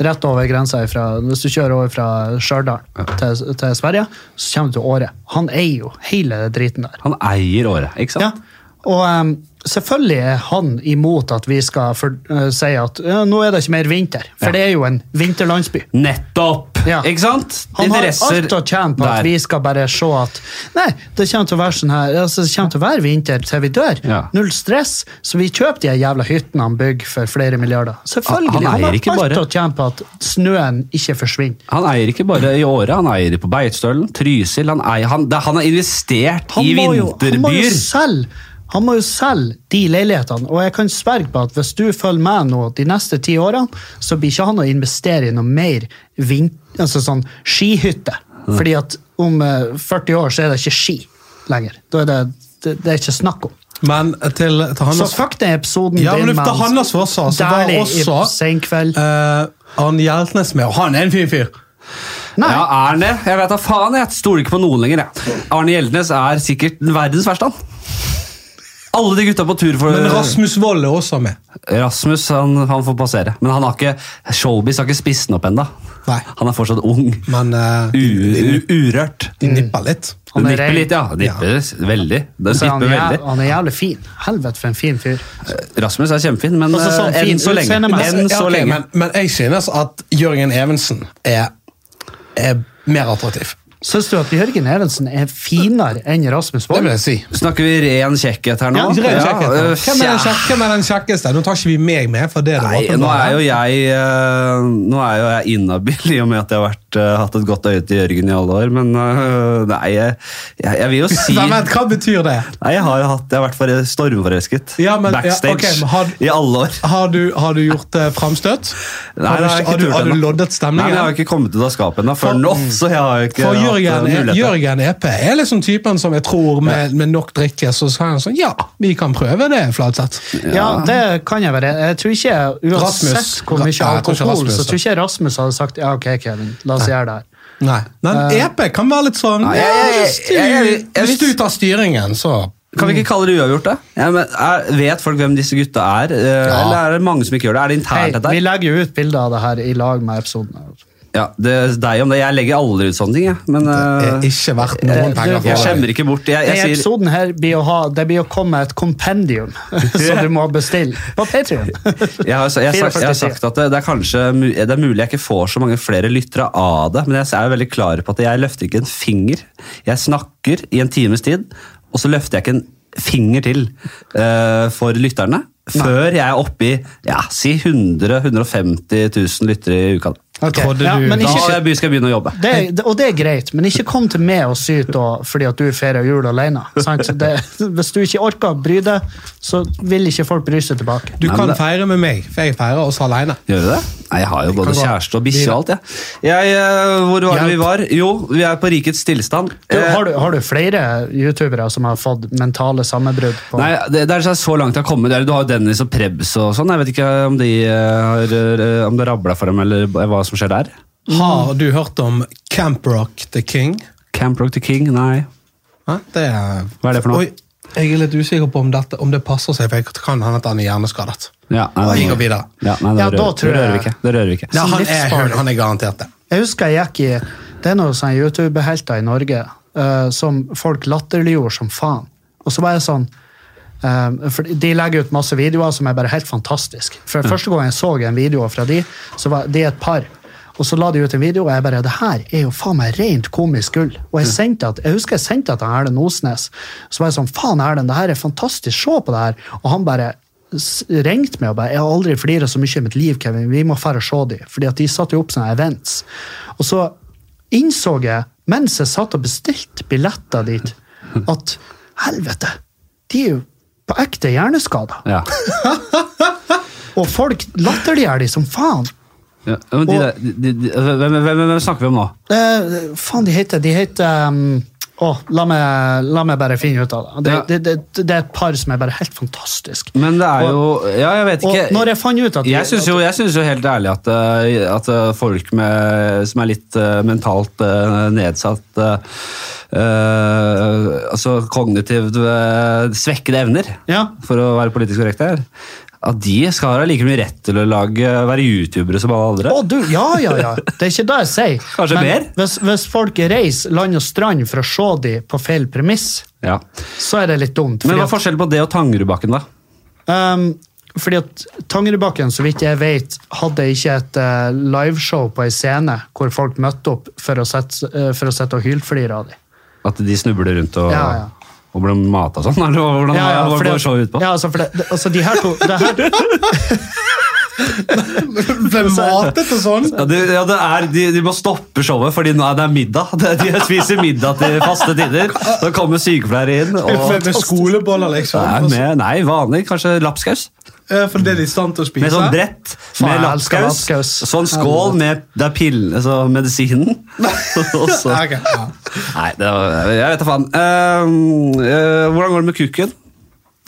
Rett over grensa ifra, Hvis du kjører over fra Stjørdal til, til Sverige, så kommer du til Åre. Han eier jo hele den driten der.
Han eier året, ikke sant?
Ja. Og em, selvfølgelig er han imot at vi skal for, eh, si at eh, nå er det ikke mer vinter, for
Ja.
det er jo en vinterlandsby.
Nettopp!
Ja.
Ikke sant?
Han har
Interesser
alt å tjene på at
der.
vi skal bare se at Nei, det kommer til å være sånn her, altså, det kommer til å være vinter til vi dør.
Ja.
Null stress. Så vi kjøper de jævla hyttene han bygger for flere milliarder. Selvfølgelig.
Han- han
Han,
eier ikke
har alt
bare-
å tjene på at snøen ikke forsvinner.
Han eier ikke bare i Åre, han eier på Beitstølen, Trysil Han, eier, han, det, han har investert
Han
i
må jo- Han må jo
vinterbyer.
selge han må jo selge de leilighetene, og jeg kan sverge på at hvis du følger med nå de neste ti årene, så blir ikke han å investere i noe mer vin altså sånn skihytte. Fordi at om eh, 40 år så er det ikke ski lenger. Da er det, det, det er ikke snakk om.
Men eh, til, til
Så
Hannes
fuck den episoden
Ja, men
din,
altså. det
man.
han også sa, så var
Dæhlie i
også
Senkveld.
eh, Arne Hjeltnes med, og han er en fin fyr.
Nei.
Ja, er han det? Jeg vet da faen, jeg stoler ikke på noen lenger. Jeg. Arne Hjeltnes er sikkert verdens verste, han. Alle de gutta på tur for
Men Rasmus Wold er også med.
Rasmus han, han får passere. Men han har ikke, showbiz har ikke spist den opp ennå.
Nei.
Han er fortsatt ung.
Men eh,
U
de, de,
u- urørt.
de nipper litt.
Du
Han er
nipper
rein.
litt, ja. Det Nipper veldig. Det
Så han,
nipper
er,
veldig.
han er jævlig fin. Helvete, for en fin fyr.
Rasmus er kjempefin, men
Altså, sånn
eh,
fin
enn så lenge.
utseendemessig.
Enn
Ja,
så
ok,
lenge.
men, men jeg synes at Jørgen Evensen er, er mer attraktiv.
Syns du at Jørgen Evensen er finere enn Rasmus
Det vil
Wold?
jeg si.
Snakker vi ren kjekkhet her nå?
Ja, ren kjekkhet.
øh,
hvem, er
tja.
den kjekke, hvem er den kjekkeste? Nå tar ikke vi meg med, for det er det
Nei, nå
åpenbare.
er jo jeg eh, Nå er jo jeg inhabil i og med at jeg har vært, eh, hatt et godt øye til Jørgen i alle år, men eh, nei, jeg, jeg, jeg vil jo si
Nei, men, hva betyr det?
Nei, jeg har jo hatt, jeg har vært for stormforelsket.
Ja, men- ja,
Backstage
ok, men har-
i alle år.
Har du, har du gjort eh, framstøt?
Nei, det
Har du,
har jeg ikke
har du,
turt
har du
ennå. Nei,
loddet
men Jeg har
stemningen?
jo ikke kommet ut av skapet ennå før nå, så jeg har jo ikke
For
hatt, eh,
Jørgen, E-
muligheter.
Jørgen EP er liksom typen som jeg tror med, med nok drikke så sa han sånn Ja, vi kan prøve det, Flatseth.
Ja, det kan jeg være. Jeg tror ikke, Uansett
Rasmus.
hvor
Nei,
mye
jeg tror ikke
alkohol,
Rasmus,
så
da.
tror ikke jeg Rasmus hadde sagt ja, ok, Kevin, la oss gjøre det her.
Nei. Men EP kan være litt sånn
Eh. Nei, jeg- jeg-
ja, hvis, du,
jeg- jeg- jeg-
hvis du tar styringen, så
Kan vi ikke kalle det uavgjort, da? Ja, men er, vet folk hvem disse gutta er? Eh,
Ja.
Eller er det mange som ikke gjør det? Er det internt,
Hei,
dette
vi
her?
legger jo ut bilder av det her i lag med episoden.
Ja, det er deg om det. Jeg legger aldri ut sånne ting, jeg. Men
er
eh,
ikke verdt noen
det-
penger
jeg
for
skjemmer ikke bort. Jeg,
Denne
jeg sier
episoden her blir å ha, det blir å komme et kompendium som du må bestille på Patreon.
jeg har, jeg, har sagt, jeg har
44.
sagt at det, det er kanskje mu- det er mulig jeg ikke får så mange flere lyttere av det, men jeg er jo veldig klar på at jeg løfter ikke en finger. Jeg snakker i en times tid, og så løfter jeg ikke en finger til eh, for lytterne før jeg er oppe i ja, si 100 150 000 lyttere i uka.
Ok,
Trodde
ja,
du-
men
Da
ikke,
har jeg be- skal jeg begynne å jobbe.
det, det- og det er greit, men ikke kom til meg og syt og, fordi at du feirer jul alene. Sant? Det, hvis du ikke orker å bry deg, så vil ikke folk bry seg tilbake.
Du
Nei,
kan
men det-
feire med meg, for jeg feirer oss aleine.
Gjør du det? Nei, Jeg har jo både
kan gå.
kjæreste og bikkje og alt, jeg. jeg. eh, Hvor var det vi
Hjelp.
var? Jo, vi er på Rikets tilstand.
Du,
Eh,
har, du, har du flere youtubere som har fått mentale sammenbrudd? på-
Nei, det, det er så- så langt jeg har kommet. Eller Du har jo Dennis og Prebz og sånn. Jeg vet ikke om, de eh, har, eh, om det rabla for dem, eller hva som skjer der. Mm.
Har du hørt om Camp Rock the King?
Camp Rock the King, nei.
Hæ? Det er,
Hva er det for noe?
Oi, jeg er litt usikker på om, dette, om det passer seg, for jeg kan hende at han er hjerneskadet.
Ja,
Oi,
nei,
vi
det-
går videre.
Ja, nei, det
Ja,
rører-
da tror
det rører vi
jeg-
ikke. Det rører vi ikke.
Ja, han, er,
livsfarlig.
han er garantert det.
Jeg husker jeg gikk i Det er noen sånne YouTube-helter i Norge eh, som folk latterliggjorde som faen. Og så var jeg sånn eh, for De legger ut masse videoer som er bare helt fantastisk. For Første gang jeg så en video fra de, så var de et par. Og så la de ut en video, og jeg bare Det her er jo faen meg rent komisk gull. Og jeg sendte at, jeg husker jeg sendte det til Erlend Osnes. Så var jeg sånn Faen, Erlend, det her er fantastisk. Se på det her. Og han bare s- ringte meg og bare 'Jeg har aldri flira så mye i mitt liv, Kevin. Vi må dra og se dem.' Fordi at de satte jo opp sånne events. Og så innså jeg, mens jeg satt og bestilte billetter dit, at helvete, de er jo på ekte hjerneskada.
Ja.
Og folk latterliggjør de som faen.
Ja, men de, der- de, de, de, hvem, hvem, hvem snakker vi om nå?
Eh, faen, de heter De heter um, å, la, meg, la meg bare finne ut av det. Det,
Ja.
det, det. det er et par som er bare helt fantastisk.
Men det er jo Ja, jeg vet ikke.
Og når jeg fant ut at de-
Jeg syns jo, jeg synes jo helt ærlig at, eh, at eh, folk med, som er litt eh, mentalt eh, nedsatt eh, eh, Altså kognitivt eh, svekkede evner,
Ja.
for å være politisk korrekt her, at de skal ha like mye rett til å lage, være youtubere som alle andre.
Å, du, ja, ja, ja. Det er ikke det jeg sier.
Kanskje mer?
Hvis, hvis folk reiser land og strand for å se dem på feil premiss,
Ja.
så er det litt dumt.
Men
fordi
hva
at-
er forskjellen på det og Tangerudbakken, da?
Um, fordi at Tangerudbakken, så vidt jeg vet, hadde ikke et eh, liveshow på ei scene hvor folk møtte opp for å sette, eh, for å sette og hylflire av dem.
At de snubler rundt og,
Ja, ja.
og blir mata sånn? Eller hvordan ja, ja,
fordi
går
at-
showet ut på?
ja, altså, for det, det, altså, de her to det her,
Ble matet og sånn.
Ja, det, ja det er, de, de må stoppe showet, fordi nå er det middag. De, de spiser middag til faste tider. Så kommer sykepleiere inn. og...
Med skoleboller,
Nei,
liksom.
med, nei, vanlig. Kanskje lapskaus?
Eh, For det er de i stand til å spise.
Med sånn brett med
Faen, jeg elsker
lapskaus.
lapskaus.
Sånn skål med det er pillen, altså medisinen. Og så
Ja, ok, ja.
Nei, det var, jeg vet da faen. Ehm, eh, hvordan går det med kukken?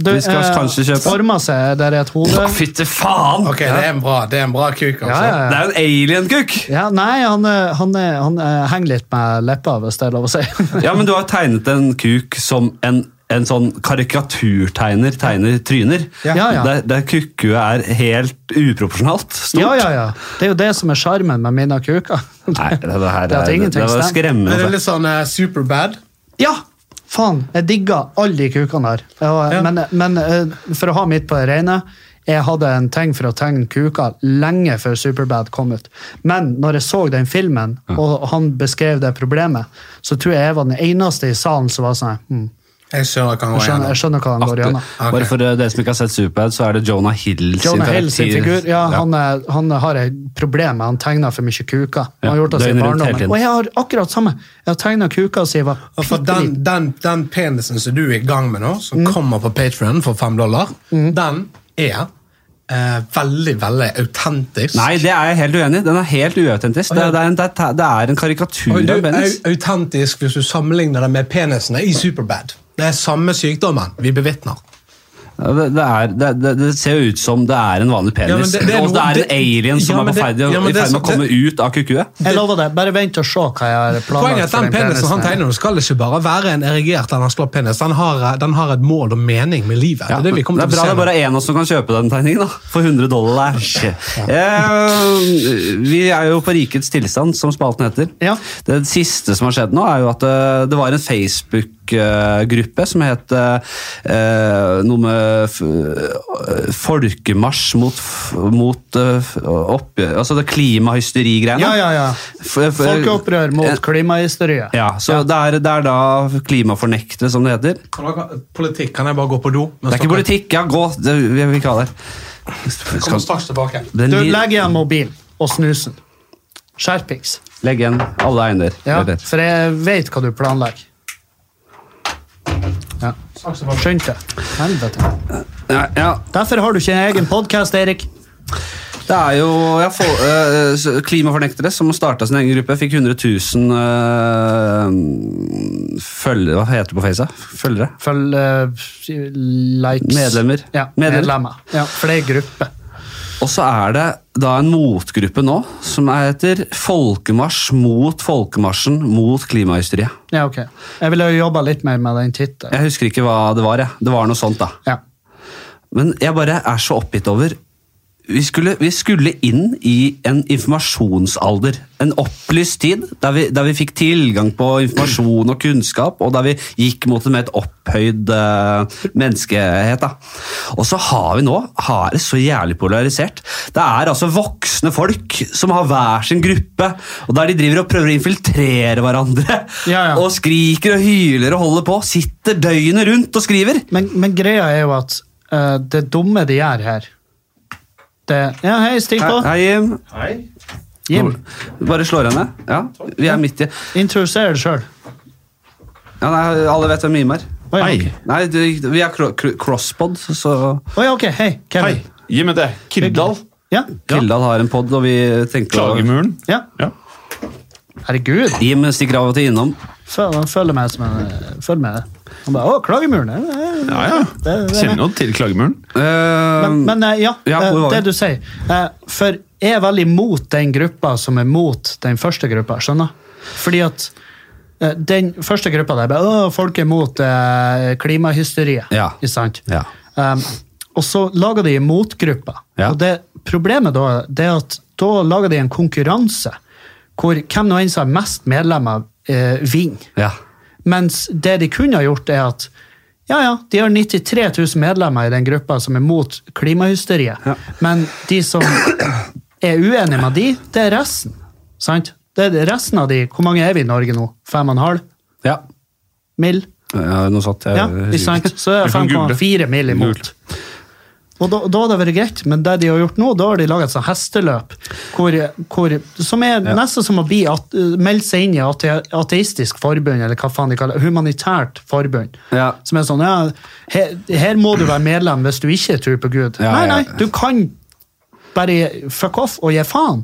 Du,
Vi skal kanskje kjøpe.
Forma seg der er et hode.
Å, altså. Fytte faen!
Ok, det er en bra, det er en bra kuk, altså.
Ja, ja,
Det er jo en alien-kuk!
Ja, nei, han, eh, han, eh, han eh, henger litt med leppa, hvis det er lov å si.
Ja, men du har tegnet en kuk som en, en sånn karikaturtegner tegner tryner.
Ja. Ja, ja.
Der, der kukkuet er helt uproporsjonalt stort.
Ja, ja, ja. Det er jo det som er sjarmen med mine kuker.
Nei, det, det her
Det er at
er- det,
ingenting
var
stemmer.
skremmende. altså.
Men det er litt sånn eh, superbad.
Ja! Faen, jeg digga alle de kukene der. Og,
Ja.
Men, men eh, for å ha mitt på det rene jeg hadde en ting for å tegne kuker lenge før Superbad kom ut. Men når jeg så den filmen, og han beskrev det problemet, så tror jeg jeg var den eneste i salen som var sånn hm,
Jeg skjønner hva han
jeg,
går
skjønner,
gjennom.
jeg skjønner hva han går gjennom.
Ok.
Bare for eh, dere som ikke har sett Superbad, så er det Jonah Hill
Jonah Hill sin
karakter-
figur, ja, han, er, han har et problem med han tegner for mye kuker. Han har
Ja,
gjort det
døgnet rundt
siden
hele
barndommen.
tiden.
Og jeg har akkurat samme. Jeg har tegna kuker siden jeg var
Og for den,
pitteliten.
den, den penisen som du er i gang med nå, som
Mm.
kommer på Patreon for fem dollar, den er eh, veldig, veldig autentisk.
Nei, det er jeg helt uenig i. Den er helt uautentisk. Det, det, er en- det, er- det er en karikatur
Og du,
av penis.
au- autentisk hvis du sammenligner det med penisene i Superbad. Det er samme sykdommen vi bevitner.
Ja, Det, det, er, det, det, det ser jo ut som det er en vanlig
Ja, men
penis.
det- det er
og det
noe-
er en
det-
alien som
Ja, men
er på
det-
ferd
ja,
i
men det er
ferd med å
så-
komme ut av kukuet.
Jeg lover det. Bare vent og se hva jeg har
Poenget er
planlagt.
at
for
den penisen han
her.
tegner, nå, skal ikke bare være en erigert eller en slå penis. Den har, eh, den har et mål og mening med livet.
Ja,
det er det vi kommer
er bra
til å
det
se
er bare
nå.
er en av oss som kan kjøpe den tegningen, da. For 100 dollar. der. Eh, vi er jo på rikets tilstand, som spalten heter.
Ja.
Det siste som har skjedd nå, er jo at eh, det var en Facebook-gruppe som het eh, noe med f eh, Folkemarsj mot, f- mot eh, f- oppgjør Altså det klimahysteri-greiene.
Ja, ja, ja.
F- f-
Folkeopprør
Eh,
mot klimahysteriet.
Ja, så Det, er, det er da klimafornektere, som det heter.
Kan dere- Politikk, kan jeg bare gå på do?
Det er ikke politikk, ja, gå! Det, vi vil ikke ha det.
Kommer straks tilbake.
Den
Du
li-
legger igjen mobilen og snusen. Skjerpings.
Legg igjen alle eiender.
Ja,
Eller-
for jeg vet hva du planlegger. Ja. Skynd deg. Helvete.
Ja, ja.
Derfor har du ikke en egen podkast, Erik.
Det er jo ja, for, eh, s- klimafornektere som starta sin egen gruppe. Fikk 100 000 eh, følgere Hva heter det på Face? Følgere?
Følg eh, likes
Medlemmer.
Ja,
Medlemmer.
medlemmer. Ja, for det er gruppe.
Og så er det da en motgruppe nå som heter Folkemarsj mot folkemarsjen mot klimahysteriet.
Ja, ok. Jeg ville jo jobba litt mer med den tittelen.
Jeg husker ikke hva det var. Jeg. Det var noe sånt, da.
Ja.
Men jeg bare er så oppgitt over vi skulle, vi skulle inn i en informasjonsalder. En opplyst tid der vi, der vi fikk tilgang på informasjon og kunnskap, og der vi gikk mot en mer opphøyd eh, menneskehet. Da. Og så har vi nå har det så jævlig polarisert. Det er altså voksne folk som har hver sin gruppe, og der de driver og prøver å infiltrere hverandre.
Ja, ja.
Og skriker og hyler og holder på. Sitter døgnet rundt og skriver.
Men, men greia er jo at eh, det dumme de gjør her det, Ja, hei, stikk
Hei,
på.
hei, Jim.
Jim,
Bare slår henne. Ja, vi er midt i
introduser deg sjøl.
ja, nei, Alle vet hvem Jim er.
Å ja,
Hei.
ok.
Nei, du, vi er kro- kro- crosspod, så
Å ja, ok. Hei,
Hei,
Kevin.
gi meg det. Kildahl.
Ja.
Kildal har en pod, og vi tenkte å-
Klagemuren.
ja.
Ja.
Herregud.
Jim stikker av og til innom.
Føl- Han følger meg som en Følg med. Han bare Å, klagemuren. ja, ja, ja».
Ja, ja. Kjenner jo til Klagemuren.
Eh,
Men, men eh, ja,
Ja,
eh,
hvor var
det
vi?
du sier. Eh, For jeg er veldig mot den gruppa som er mot den første gruppa. skjønner? Fordi at eh, den første gruppa der bare, «Åh, folk er mot eh, klimahysteriet.
Ja.
Ikke sant?
Ja.
Um, og så lager de motgrupper.
Ja.
Og det problemet da det er at da lager de en konkurranse hvor hvem nå enn som har mest medlemmer, eh, vinner.
ja.
Mens det de kunne ha gjort, er at ja, ja, de har 93 000 medlemmer i den gruppa som er mot klimahysteriet. Men de som er uenige med de, det er resten. Sant? Det er resten av de. Hvor mange er vi i Norge nå? Fem og en halv
ja.
mill?
Ja, Noe sånt. jeg
Ja,
husker
ikke sant?
ikke.
Så er
Du kan google.
5,4 mill imot. Og da, da hadde det vært greit, men det de har gjort nå, da har de laget et sånt hesteløp hvor, hvor, som er nesten som å bli at, melde seg inn i ate, ateistisk forbund, eller hva faen de kaller det, humanitært forbund.
Ja.
Som er sånn ja, her, her må du være medlem hvis du ikke tror på Gud.
Ja,
nei,
ja.
nei, du kan bare fuck off og gi faen.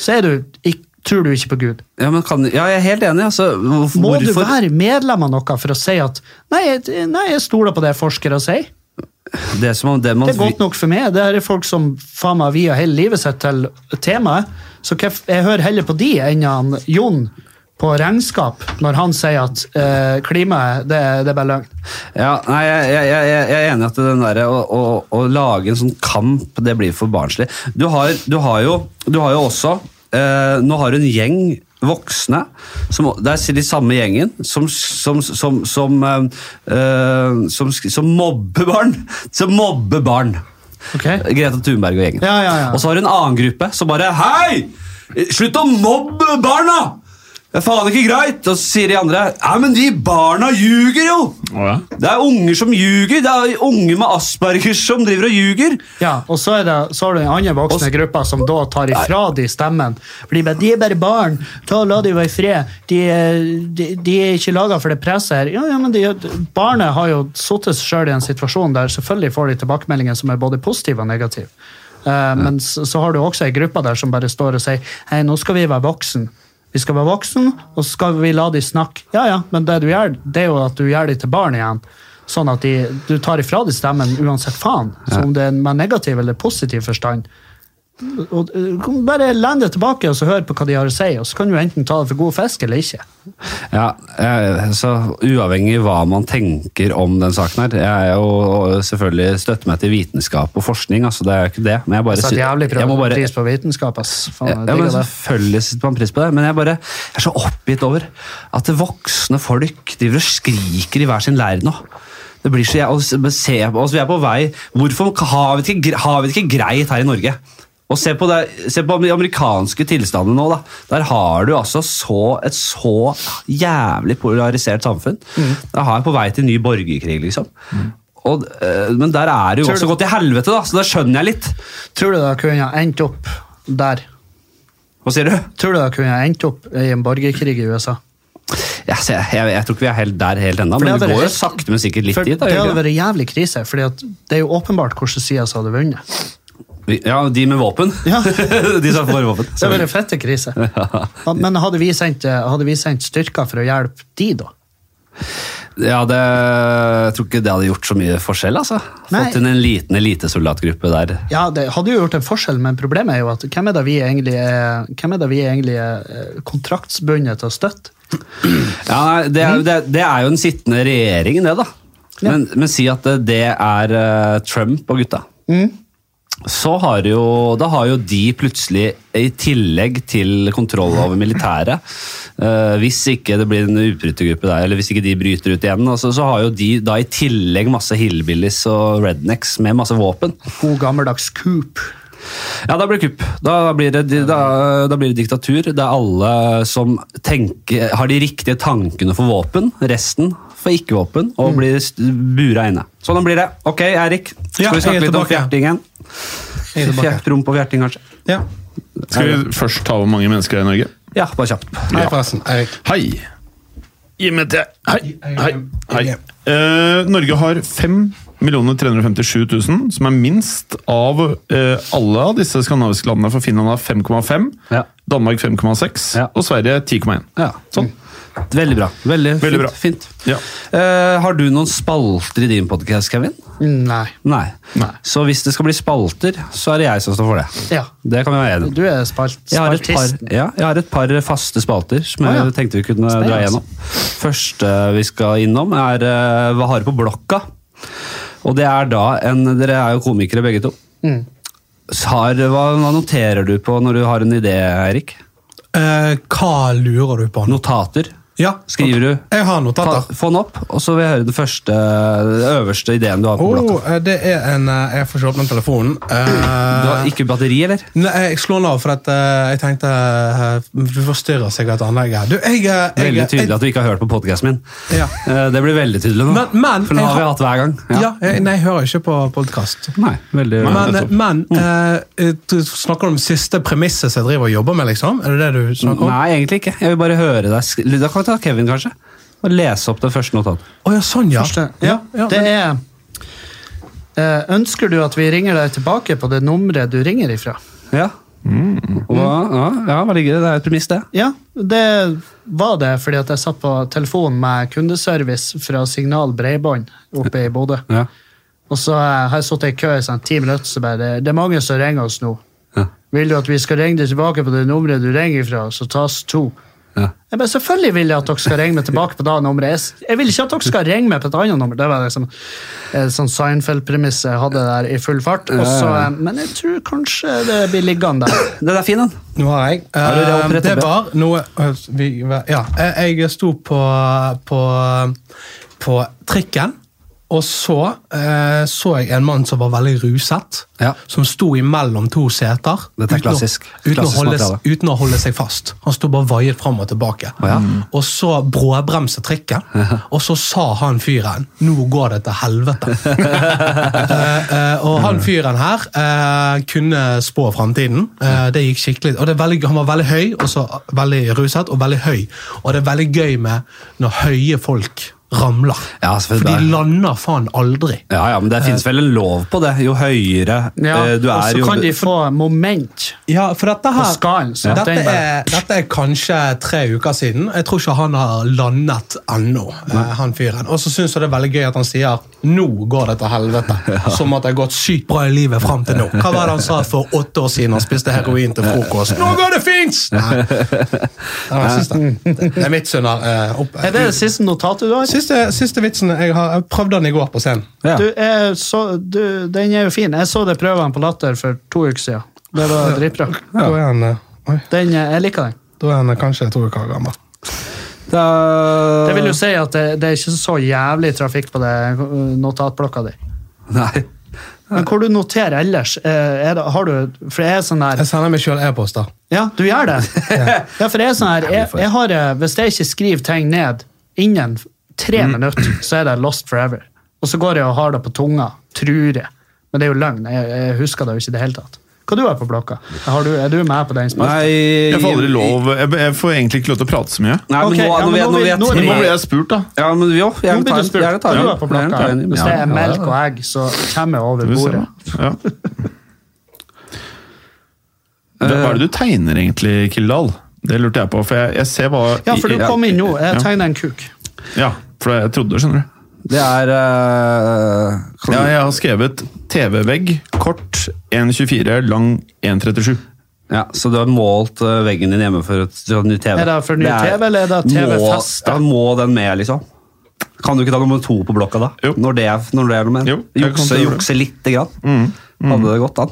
Så er du, ikk- tror du ikke på Gud.
Ja, men kan, ja, jeg er helt enig. Altså, hvorfor,
Må du
hvorfor-
være medlem av noe for å si at nei, jeg- nei jeg stoler på det forskere sier?
Det er som om det man
Det er godt nok for meg. Det her er folk som faen meg via hele livet sitt til temaet. Så hvorf- jeg hører heller på de enn han Jon på regnskap, når han sier at eh, klimaet, det, er- det er bare løgn.
Ja, nei, jeg, jeg, jeg, jeg er enig i at den der, å, å, å lage en sånn kamp, det blir for barnslig. Du har, du har, jo, du har jo også eh, Nå har du en gjeng voksne, som, det er de samme gjengen, som, som, som, som, eh, eh, som, sk- som mobber barn. Som mobber barn.
Ok?
Greta Thunberg og gjengen.
Ja, ja, ja.
Og så har du en annen gruppe som bare Hei! Slutt å mobbe barna! Det er faen ikke greit! Og så sier de andre Nei, men de barna ljuger jo!
Å, ja.
Det er unger som ljuger. Det er unger med aspergers som driver og ljuger.
Ja, og så, er det, så har du den andre voksne gruppa som da tar ifra de stemmen. For de bare, de er bare barn, ta og la de være i fred. De, er- de, de er ikke laga for det presset her. Ja, ja, men de, Barnet har jo satt seg sjøl i en situasjon der selvfølgelig får de tilbakemeldinger som er både positive og negative. Eh, Men så, så har du også ei gruppe der som bare står og sier hei, nå skal vi være voksen. Vi skal være voksen, og så skal vi la de snakke. Ja, ja, men det du gjør, det er jo at du gjør de til barn igjen. Sånn at de, du tar ifra de stemmen uansett faen. Så om det er med negativ eller positiv forstand. Og, øh, kom bare land det tilbake og så hør på hva de har å si, og så kan du enten ta det for god fisk eller ikke.
Ja, eh, så Uavhengig hva man tenker om den saken her Jeg er jo selvfølgelig støtter meg til vitenskap og forskning. altså det er jo ikke det, men jeg bare...
Sett
sy-
jævlig
jeg må
prøv-
bare-
pris på vitenskap, ass. Faen, jeg
Ja, men
digger det.
selvfølgelig setter man pris på det, men jeg, bare, jeg er så oppgitt over at det voksne folk driver og skriker i hver sin leir nå. Det blir så, jeg, og s- men se på oss, Vi er på vei Hvorfor har vi det ikke, gre- har vi det ikke greit her i Norge? Og Se på, det, se på de amerikanske tilstandene nå. da. Der har du altså så, et så jævlig polarisert samfunn.
Mm.
Da har jeg på vei til ny borgerkrig, liksom. Og, eh, men der er det jo
Tror
også
du-
gått til helvete, da, så da skjønner jeg litt.
Tror du det kunne ha endt opp der?
Hva sier du?
Tror du det kunne ha endt opp i en borgerkrig i USA?
Ja, se, jeg, jeg, tror ikke vi er helt der helt ennå,
For det
men
hadde
vi
vært
går jo
helt-
sakte, men sikkert litt
For
dit. Da,
det
gjør vi
hadde
ikke det?
vært jævlig krise, for det er jo åpenbart hvordan sida som hadde vunnet.
Vi- ja, de med våpen.
Ja.
de som får våpen.
Det hadde vært fette krise. Ja, Men hadde vi, sendt, eh, hadde vi sendt styrker for å hjelpe de, da?
Ja, det, jeg tror ikke det hadde gjort så mye forskjell, altså.
Nei.
Fått inn en liten elitesoldatgruppe der.
Ja, det hadde jo gjort en forskjell, men problemet er jo at hvem er det vi egentlig er, hvem er, det vi egentlig er eh, kontraktsbundet til å støtte?
Ja, nei, det, er, det, det er jo den sittende regjeringen, det, da.
Ja.
Men, men si at det- det er eh, Trump og gutta. Så har jo, da har jo de plutselig, i tillegg til kontroll over militæret eh, Hvis ikke det blir en utbrytergruppe der, eller hvis ikke de bryter ut igjen, altså, så har jo de da i tillegg masse hillbillies og rednecks med masse våpen.
God gammeldags coup.
Ja, da blir det kupp. Da blir det, da, da blir det diktatur. Det er alle som tenker, har de riktige tankene for våpen. Resten får ikke våpen og blir st- bura inne. Sånn blir det. Ok, Eirik. Skal
Ja,
vi
jeg
snakke
er
litt om
tilbake.
fjertingen?
Jeg er tilbake.
Fjert, rump og fjerting, kanskje?
Ja.
Skal vi først ta hvor mange mennesker det er i Norge?
Ja, bare kjapt.
Hei, forresten. Eirik.
Hei! Gi meg det. Hei, hei, hei.
Ja.
Eh, Norge har 5 357 000, som er minst av eh, alle av disse skandinaviske landene, for Finland har 5,5,
Ja.
Danmark 5,6
Ja.
og Sverige 10,1.
Ja.
Sånn.
Veldig bra. Veldig,
Veldig
fint.
bra.
fint.
Ja.
Eh, har du noen spalter i din podcast, Kevin?
Mm, Nei.
Nei.
Nei.
Så hvis det skal bli spalter, så er det jeg som står for det.
Ja.
Det kan vi være enige om.
Du er spalt,
Jeg har, et par,
spaltisten.
ja, jeg har et par faste spalter som
Å, ja.
jeg tenkte vi kunne
Spennende.
dra gjennom. Første vi skal innom, er eh, Hva har du på blokka? Og det er da en Dere er jo komikere begge to.
Mm.
Så Har, hva, hva noterer du på når du har en idé, Eirik?
Eh, hva lurer du på nå?
Notater?
Ja,
Skriver du?
Jeg har
Ta,
notater.
få den opp, og så vil jeg høre den første, den øverste ideen du har på blokka.
Oh, eh, det er en eh, Jeg får ikke åpne telefonen.
Du
Eh,
har ikke batteri, eller?
Nei, jeg slår den av, for at, eh, jeg tenkte eh, Du forstyrrer sikkert anlegget. her. Du, jeg, eh, jeg,
Veldig tydelig
jeg,
at du ikke har hørt på podkasten min.
Ja.
Eh, Det blir veldig tydelig nå.
Men- men-
For nå har vi hatt hver gang.
ja. jeg, nei, jeg hører ikke på podkast.
Nei, veldig...
Nei.
Men,
nettopp.
men eh, du snakker om siste premisset som jeg driver og jobber med, liksom? Er det det du snakker om?
Nei, egentlig ikke. Jeg vil bare høre deg. sk- Da kan vi ta Kevin, kanskje. Og lese opp det første notatet.
Å ja, sånn, ja.
Første.
ja, ja
det
men-
er eh, Ønsker du at vi ringer deg tilbake på det nummeret du ringer ifra?
Ja. Og, ja, ja, hva ligger det? Det er et premiss, det.
Ja, det var det, fordi at jeg satt på telefon med kundeservice fra Signal Breibånd oppe i Bodø.
Ja.
Og så eh, har jeg sittet i kø i sånn ti minutter, så bare Det er mange som ringer oss nå.
Ja.
Vil du at vi skal ringe deg tilbake på det nummeret du ringer fra, så tas to?
Ja.
Jeg bare, Selvfølgelig vil jeg at dere skal ringe meg tilbake på det nummeret. Jeg, s- jeg vil ikke at dere skal ringe meg på et annet nummer. Det var liksom en sånn Seinfeld-premiss jeg hadde der i full fart. Og så, eh, men jeg tror kanskje det blir liggende der.
Den er fin, den.
Nå har jeg.
Har du det
Eh,
opprettet,
det
Ben?
var noe øh, vi, Ja, jeg, jeg sto på, på, på trikken, og så eh, så jeg en mann som var veldig ruset.
Ja.
Som sto imellom to seter.
Dette er
uten å-
klassisk.
Uten,
Klassisk
å, holde,
materiale.
uten å holde seg fast. Han sto bare vaiet fram og tilbake.
ja.
Og så bråbremset trikken, og så sa han fyren 'Nå går det til helvete'. Eh, eh, og han fyren her eh, kunne spå framtiden. Eh, det gikk skikkelig. Og det er veldig, han var veldig høy, og så eh, veldig ruset, og veldig høy. Og det er veldig gøy med når høye folk ramler.
Ja,
For
selvfølgelig.
de lander faen aldri.
Ja, ja, men det finnes vel en lov på det. Jo høyere
Ja,
eh, du
og
er,
så
jo
kan de få moment.
Ja, for dette her
På skallen, sant?
dette,
Den
er,
bare-
dette er kanskje tre uker siden. Jeg tror ikke han har landet ennå, eh, han fyren. Og så syns jeg det er veldig gøy at han sier 'nå går det til helvete'. Som at det har gått sykt bra i livet fram til nå. Hva var det han sa for åtte år siden han spiste heroin til frokost? 'Nå går det fint!' Nei. Ja, jeg synes det. det er mitt syn her. eh, opp.
Er det det siste notatet du har?
Siste, siste vitsen jeg har Jeg prøvde den i går på scenen.
ja.
Du, jeg så, du, den er jo fin. Jeg så det prøvene på Latter for to uker siden. Det var dritbra.
Da er han, eh, oi,
Den, eh, jeg liker den.
da er han eh, kanskje to uker gammel.
Da-
Det vil jo si at det, det er ikke så jævlig trafikk på det eh, notatblokka di.
Nei.
Men hvor du noterer ellers? eh, Er det, har du, for jeg er sånn der
Jeg sender meg sjøl e-poster.
Ja, du gjør det. ja, for jeg er sånn her, jeg, jeg har, eh, Hvis jeg ikke skriver ting ned innen tre
Mm.
minutter, så er det lost forever. Og så går jeg og har det på tunga, tror jeg. Men det er jo løgn. Jeg, jeg husker det jo ikke i det hele tatt. Hva du har på blokka? Har du, er du med på den spalten?
Nei
Jeg får aldri lov Jeg, jeg får egentlig ikke lov til å prate så mye.
Nei, men
Ok,
nå,
ja,
nå,
men
nå,
nå
nå,
blir-
nå,
nå
vi
er
Men Nå
er
blir
tre.
jeg spurt, da.
Ja, men jo, jeg
Nå blir
tar
du
en-
spurt.
jeg tar
Hva
en-
du har på
jeg
blokka?
tar en-
Hvis
ja,
det er
ja,
melk
ja.
og egg, så kommer jeg over
Skal vi se,
bordet.
da. Ja. Hva hva er det du tegner egentlig, Kildahl? Det lurte jeg på, for jeg, jeg ser hva
Ja, for du kom inn nå. Jeg tegner en kuk.
Ja, for jeg trodde det, skjønner du.
Det er eh, kan-
Ja, jeg har skrevet TV-vegg, kort, 1,24, lang, 1,37.
Ja, Så du har målt eh, veggen din hjemme for et for en ny TV?
Er det for ny TV, eller er det
må-
TV-feste?
Ja, må den med, liksom? Kan du ikke ta nummer to på blokka, da?
Jo.
Når det er, når det er med?
Jo, jeg kan Mm,
jukse,
gjøre det.
jukse lite grann? Hadde det gått an?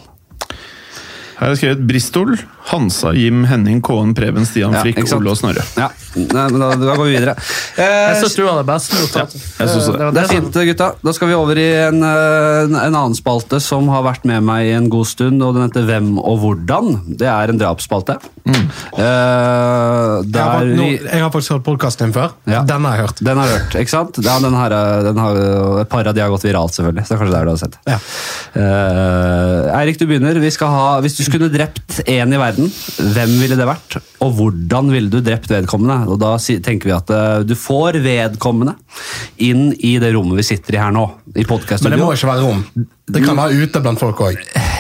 Her har jeg skrevet Bristol, Hansa, Jim, Henning, Kåen, Preben, Stian,
Ja,
Frikk,
ikke sant?
Ole og Snorre.
Ja, Nei, men da, da går vi videre.
Jeg
Eh,
syns du hadde best notat.
jeg synes det.
var
det er
som-
fint, gutta. Da skal vi over i en, eh, en en annen spalte som har vært med meg i en god stund, og den heter Hvem og hvordan. Det er en drapsspalte.
Mm.
Eh,
Jeg har,
der
fakt-
vi-
nå, jeg har faktisk hørt podkasten din før.
Ja.
Den har jeg hørt.
Den har jeg hørt, ikke sant? Ja, den her, er- den har, et par av de har gått viralt, selvfølgelig. Så det er kanskje der du har sett.
Ja.
Eh, Eirik, du begynner. Vi skal ha, hvis du skulle drept én i verden, hvem ville det vært? Og hvordan ville du drept vedkommende? Og da si- tenker vi at eh, du får vedkommende inn i det rommet vi sitter i her nå. I
Men det må
podcaststudioet.
ikke være rom. Det kan være ute blant folk òg.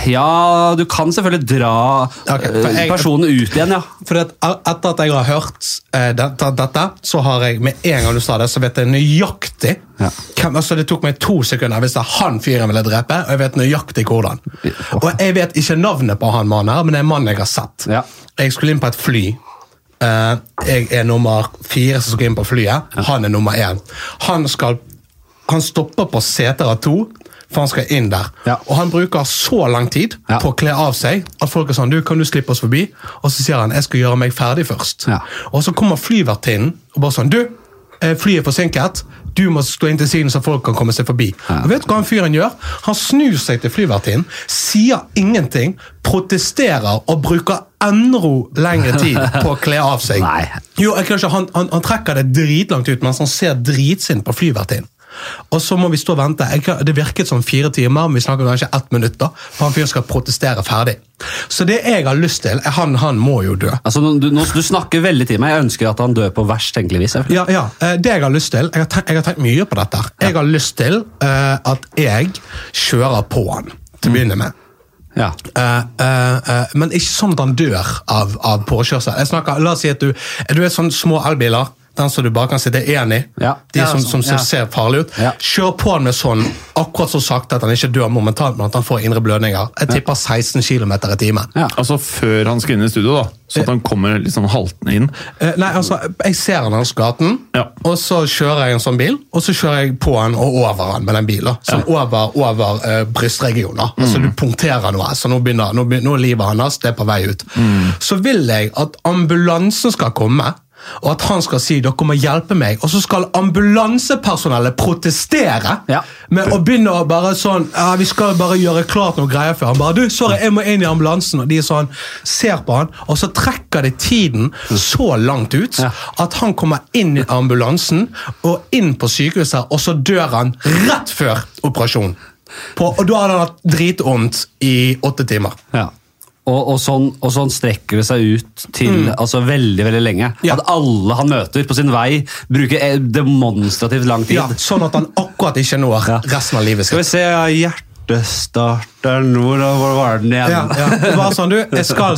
Ja, du kan selvfølgelig dra
Ok, for
eh,
jeg-
personen ut igjen, ja.
For at e- etter at jeg har hørt eh, dette, dette, så har jeg med en gang du sa det, så vet jeg nøyaktig
Ja.
hvem, altså Det tok meg to sekunder hvis det er han fyren ville drepe, og jeg vet nøyaktig hvordan. Og jeg vet ikke navnet på han mannen her, men det er en mann jeg har sett.
Ja.
Jeg skulle inn på et fly. Eh, jeg er nummer fire som skal inn på flyet. Han er nummer én. Han, skal, han stopper på seter av to, for han skal inn der.
Ja.
Og han bruker så lang tid
Ja.
på å kle av seg at folk er sånn du, 'Kan du slippe oss forbi?' Og så sier han 'Jeg skal gjøre meg ferdig først'.
Ja.
Og så kommer flyvertinnen og bare sånn 'Du, eh, flyet er forsinket. Du må stå inn til siden så folk kan komme seg forbi'.
Ja.
Og vet du hva han fyren gjør? Han snur seg til flyvertinnen, sier ingenting, protesterer og bruker enda lengre tid på å kle av seg.
Nei.
Jo, jeg klarer ikke, han, han, han trekker det dritlangt ut mens han ser dritsint på flyvertinnen. Og så må vi stå og vente. Jeg, kan- det virket som fire timer, men vi snakker kanskje ett minutt. da, For han fyren skal protestere ferdig. Så det jeg har lyst til er- Han, han må jo dø.
Altså, du, nå- du snakker veldig til meg. Jeg ønsker at han dør på verst tenkelig vis. selvfølgelig.
Ja, ja. eh, Det jeg har lyst til Jeg har tenkt, jeg har tenkt mye på dette. her. Jeg har lyst til eh, at jeg kjører på han til å begynne med.
Ja.
Eh, eh, eh, men ikke sånn at han dør av, av påkjørsel. Jeg snakker, la oss si at du, du er sånn små elbiler. Den som du bare kan sitte én i.
Ja.
De
Ja,
som,
sånn,
som, som
ja.
ser farlig ut.
Ja.
Kjør på han med sånn akkurat så sakte at han ikke dør momentant, men at han får indre blødninger. Jeg tipper 16 km i timen.
Ja.
Altså før han skal inn i studio, da. Så at han kommer litt sånn haltende inn.
Eh, Nei, altså, Jeg ser han langs gaten,
Ja.
og så kjører jeg en sånn bil. Og så kjører jeg på han og over han med den bilen. Sånn over, over eh, brystregionen. Altså, du punkterer noe, så nå begynner, nå begynner nå er livet hans det er på vei ut. Så vil jeg at ambulansen skal komme. Og at han skal si 'dere må hjelpe meg', og så skal ambulansepersonellet protestere
Ja.
med å begynne å bare sånn ja, 'Vi skal bare gjøre klart noen greier før han bare 'Du, sorry, jeg må inn i ambulansen.' Og de sånn ser på han, og så trekker det tiden så langt ut
Ja.
at han kommer inn i ambulansen og inn på sykehuset, og så dør han rett før operasjonen. På, og da hadde han hatt dritvondt i åtte timer.
Ja. Og, og, sånn, og sånn strekker det seg ut til altså, veldig veldig lenge.
Ja.
At alle han møter på sin vei, bruker eh, demonstrativt lang tid.
Ja, sånn at han akkurat ikke når
Ja.
resten av livet sitt.
Skal vi se ja, Hjertestarteren Hvor, hvor var den igjen?
Ja, ja. Det var sånn, du, jeg skal,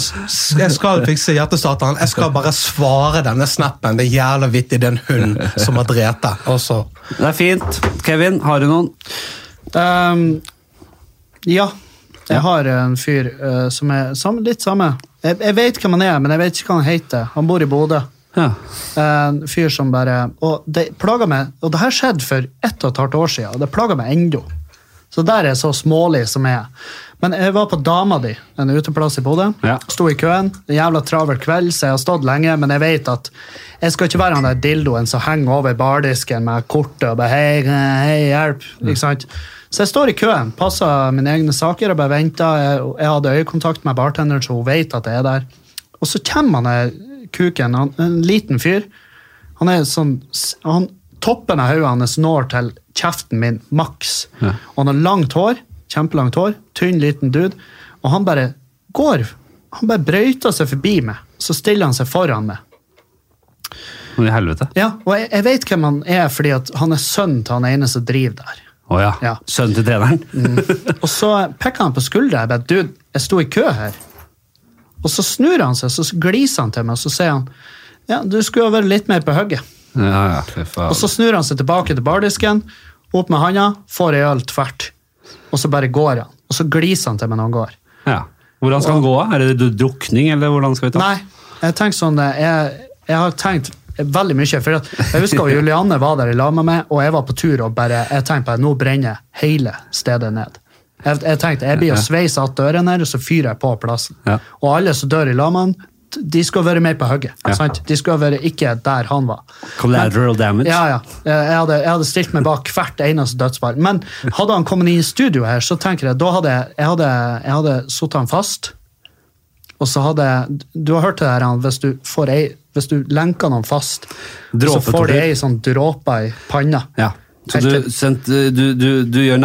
jeg skal fikse hjertestarteren. Jeg skal bare svare denne snappen. Det er jævla vittig, den hunden som har drept deg. Og så
Det er fint. Kevin, har du noen?
Ehm, ja. Jeg har en fyr eh, som er sam- litt samme. Jeg, jeg vet hvem han er, men jeg vet ikke hva han heter. Han bor i Bodø.
Ja.
En fyr som bare Og det plager meg, og det her skjedde for ett og et halvt år siden, og det plager meg ennå. Så der er jeg så smålig som jeg er. Men jeg var på Dama di, en uteplass i Bodø.
Ja.
Sto i køen. En jævla travel kveld, så jeg har stått lenge, men jeg vet at jeg skal ikke være han der dildoen som henger over bardisken med kortet og bare hei, eh, hei, hjelp. Ikke sant? Så jeg står i køen, passer mine egne saker og bare venter. Jeg, jeg hadde øyekontakt med bartenderen, så hun vet at jeg er der. Og så kommer han der kuken, han, en liten fyr. Han er sånn han, Toppen av hodet hans når til kjeften min, maks. Og han har langt hår, kjempelangt hår, tynn, liten dude, og han bare går. Han bare brøyter seg forbi meg, så stiller han seg foran meg.
Men i helvete.
Ja, Og jeg, jeg vet hvem han er, fordi at han er sønnen til han ene som driver der.
Å ja. Mm.
Ja.
Sønnen til treneren?
Og så peker han på skuldra. Jeg bare, dude, jeg sto i kø her. Og så snur han seg, så gliser han til meg, og så sier han ja, du skulle jo vært litt mer på hugget.
Ja, ja, fy faen.
Og så snur han seg tilbake til bardisken, opp med handa, får ei øl tvert. Og så bare går han. Og så gliser han til meg når han går.
ja. Hvordan skal han gå? av? Er det du- drukning, eller hvordan skal vi ta
Nei, jeg tenker sånn eh, Jeg, jeg har tenkt veldig mye. For at jeg husker at Julianne var der i lag med meg, og jeg var på tur og bare jeg tenkte bare, nå brenner hele stedet ned. Jeg, jeg tenkte, jeg blir å sveise att døren her, og så fyrer jeg på plassen.
Ja.
Og alle som dør i lag med han, t- de skal være mer på hugget.
Ja.
sant? De skal være ikke der han var.
Collateral damage?
Ja, ja. Eh, Jeg hadde, jeg hadde stilt meg bak hvert eneste dødsfall. Men hadde han kommet inn i studio her, så tenker jeg, da hadde jeg, jeg hadde, jeg hadde satt han fast. Og så hadde jeg, Du har hørt det her, han, hvis du, får ei, hvis du lenker noen fast, så
Dråpetortur.
får de ei sånn dråpe i panna.
Ja. Så
Helt
du,
til-
sendt, eh, du, du, du gjør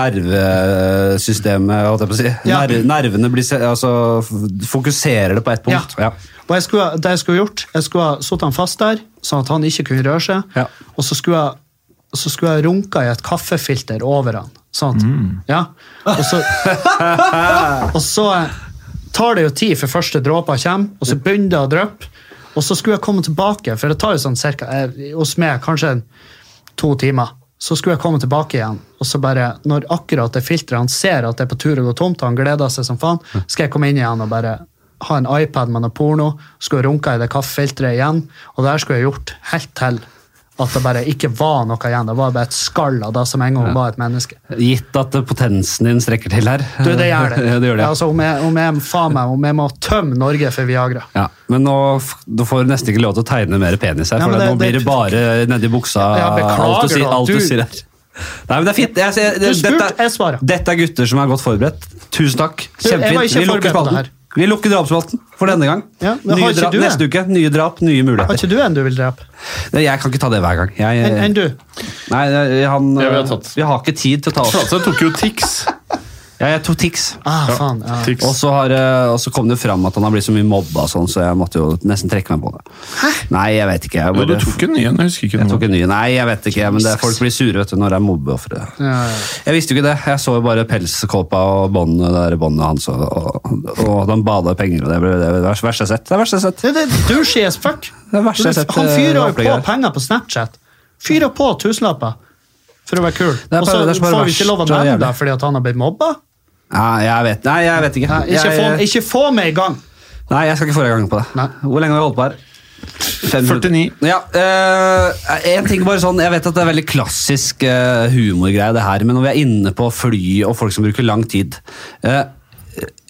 nervesystemet holdt jeg på å si.
Ja.
Ner, Nervene blir, se- altså, f- fokuserer det på ett punkt. Ja.
Og jeg skulle, det jeg skulle gjort, jeg skulle ha satt han fast der, sånn at han ikke kunne røre seg.
Ja.
Og så skulle, jeg, så skulle jeg runka i et kaffefilter over han. Sånn at,
Mm.
ja. Og så, og så eh, tar det jo tid før første dråpa kommer, og så begynner det å dryppe. Og så skulle jeg komme tilbake, for det tar jo sånn cirka, eh, hos meg kanskje en to timer. Så skulle jeg komme tilbake igjen, og så bare, når akkurat det filteret han ser at det er på tur å gå tomt, han gleder seg som faen, skal jeg komme inn igjen og bare ha en iPad med noe porno, skulle runke i det kaffefilteret igjen, og det her skulle jeg gjort helt til at det bare ikke var noe igjen. Det var bare et skall av det som en gang var et menneske.
Gitt at eh, potensen din strekker til her.
Du, det gjør det.
ja, det, gjør det. ja.
Altså, om jeg, om jeg, faen meg, om jeg må tømme Norge for Viagra.
Ja, men nå, f- nå får du nesten ikke lov til å tegne mer penis her, for
Ja, men det-
nå blir det
det-
bare nedi buksa.
Ja, beklager
alt du, sier,
da,
alt du...
du-
sier her. Nei, men det er fint. Jeg, jeg,
Du spurte,
dette,
jeg svarer.
Dette er gutter som er godt forberedt. Tusen takk.
Du, jeg var
Kjempefint.
ikke
Vi lukker
forberedt på
spalten.
det her.
Vi lukker drapsspalten for denne gang.
Ja, men
nye
har ikke
drap
du det?
neste uke. Nye drap, nye
Har
muligheter.
ikke du en du vil drepe?
Nei, Jeg kan ikke ta det hver gang. Jeg,
Enn enn du?
Nei, jeg- han, eh,
Ja, vi har tatt.
vi har ikke tid til å ta oss.
Flatstad tok jo Tix.
Ja, jeg tok Tix.
Ah, faen. Ja.
Tix.
Og så har, eh, og så kom det fram at han har blitt så mye mobba, og sånn, så jeg måtte jo nesten trekke meg på det. Hæ? Nei, jeg vet ikke. Jeg,
Jo, du
bare,
tok en ny en, jeg husker ikke
jeg tok
noe.
en ny. Nei, jeg vet ikke, men det, folk blir sure vet du, når det er mobbeofre.
Ja, ja.
Jeg visste jo ikke det. Jeg så jo bare pelskåpa og båndet det der båndet hans, og, og, og at han bada i penger, og det ble det var det verste jeg har sett. Det er det verste jeg har sett.
Det er det douchey as fuck.
Det er verste jeg har sett,
Han fyrer
eh,
jo på
opplegget.
penger på Snapchat. Fyrer på tusenlapper for å være kul.
er
Og så
bare- det er bare
får vi
verst
ikke lov å
og
nevne
jævlig.
det fordi at han har blitt mobba.
Nei, jeg vet, nei, jeg vet ikke.
Nei, ikke,
jeg,
få, ikke få meg i gang!
Nei, jeg skal ikke forrige gang på det.
Nei.
Hvor lenge har vi holdt på her? Fem
49.
minutter. Ja, eh, en ting bare sånn, Jeg vet at det er veldig klassisk eh, humorgreie, det her, men når vi er inne på fly og folk som bruker lang tid eh,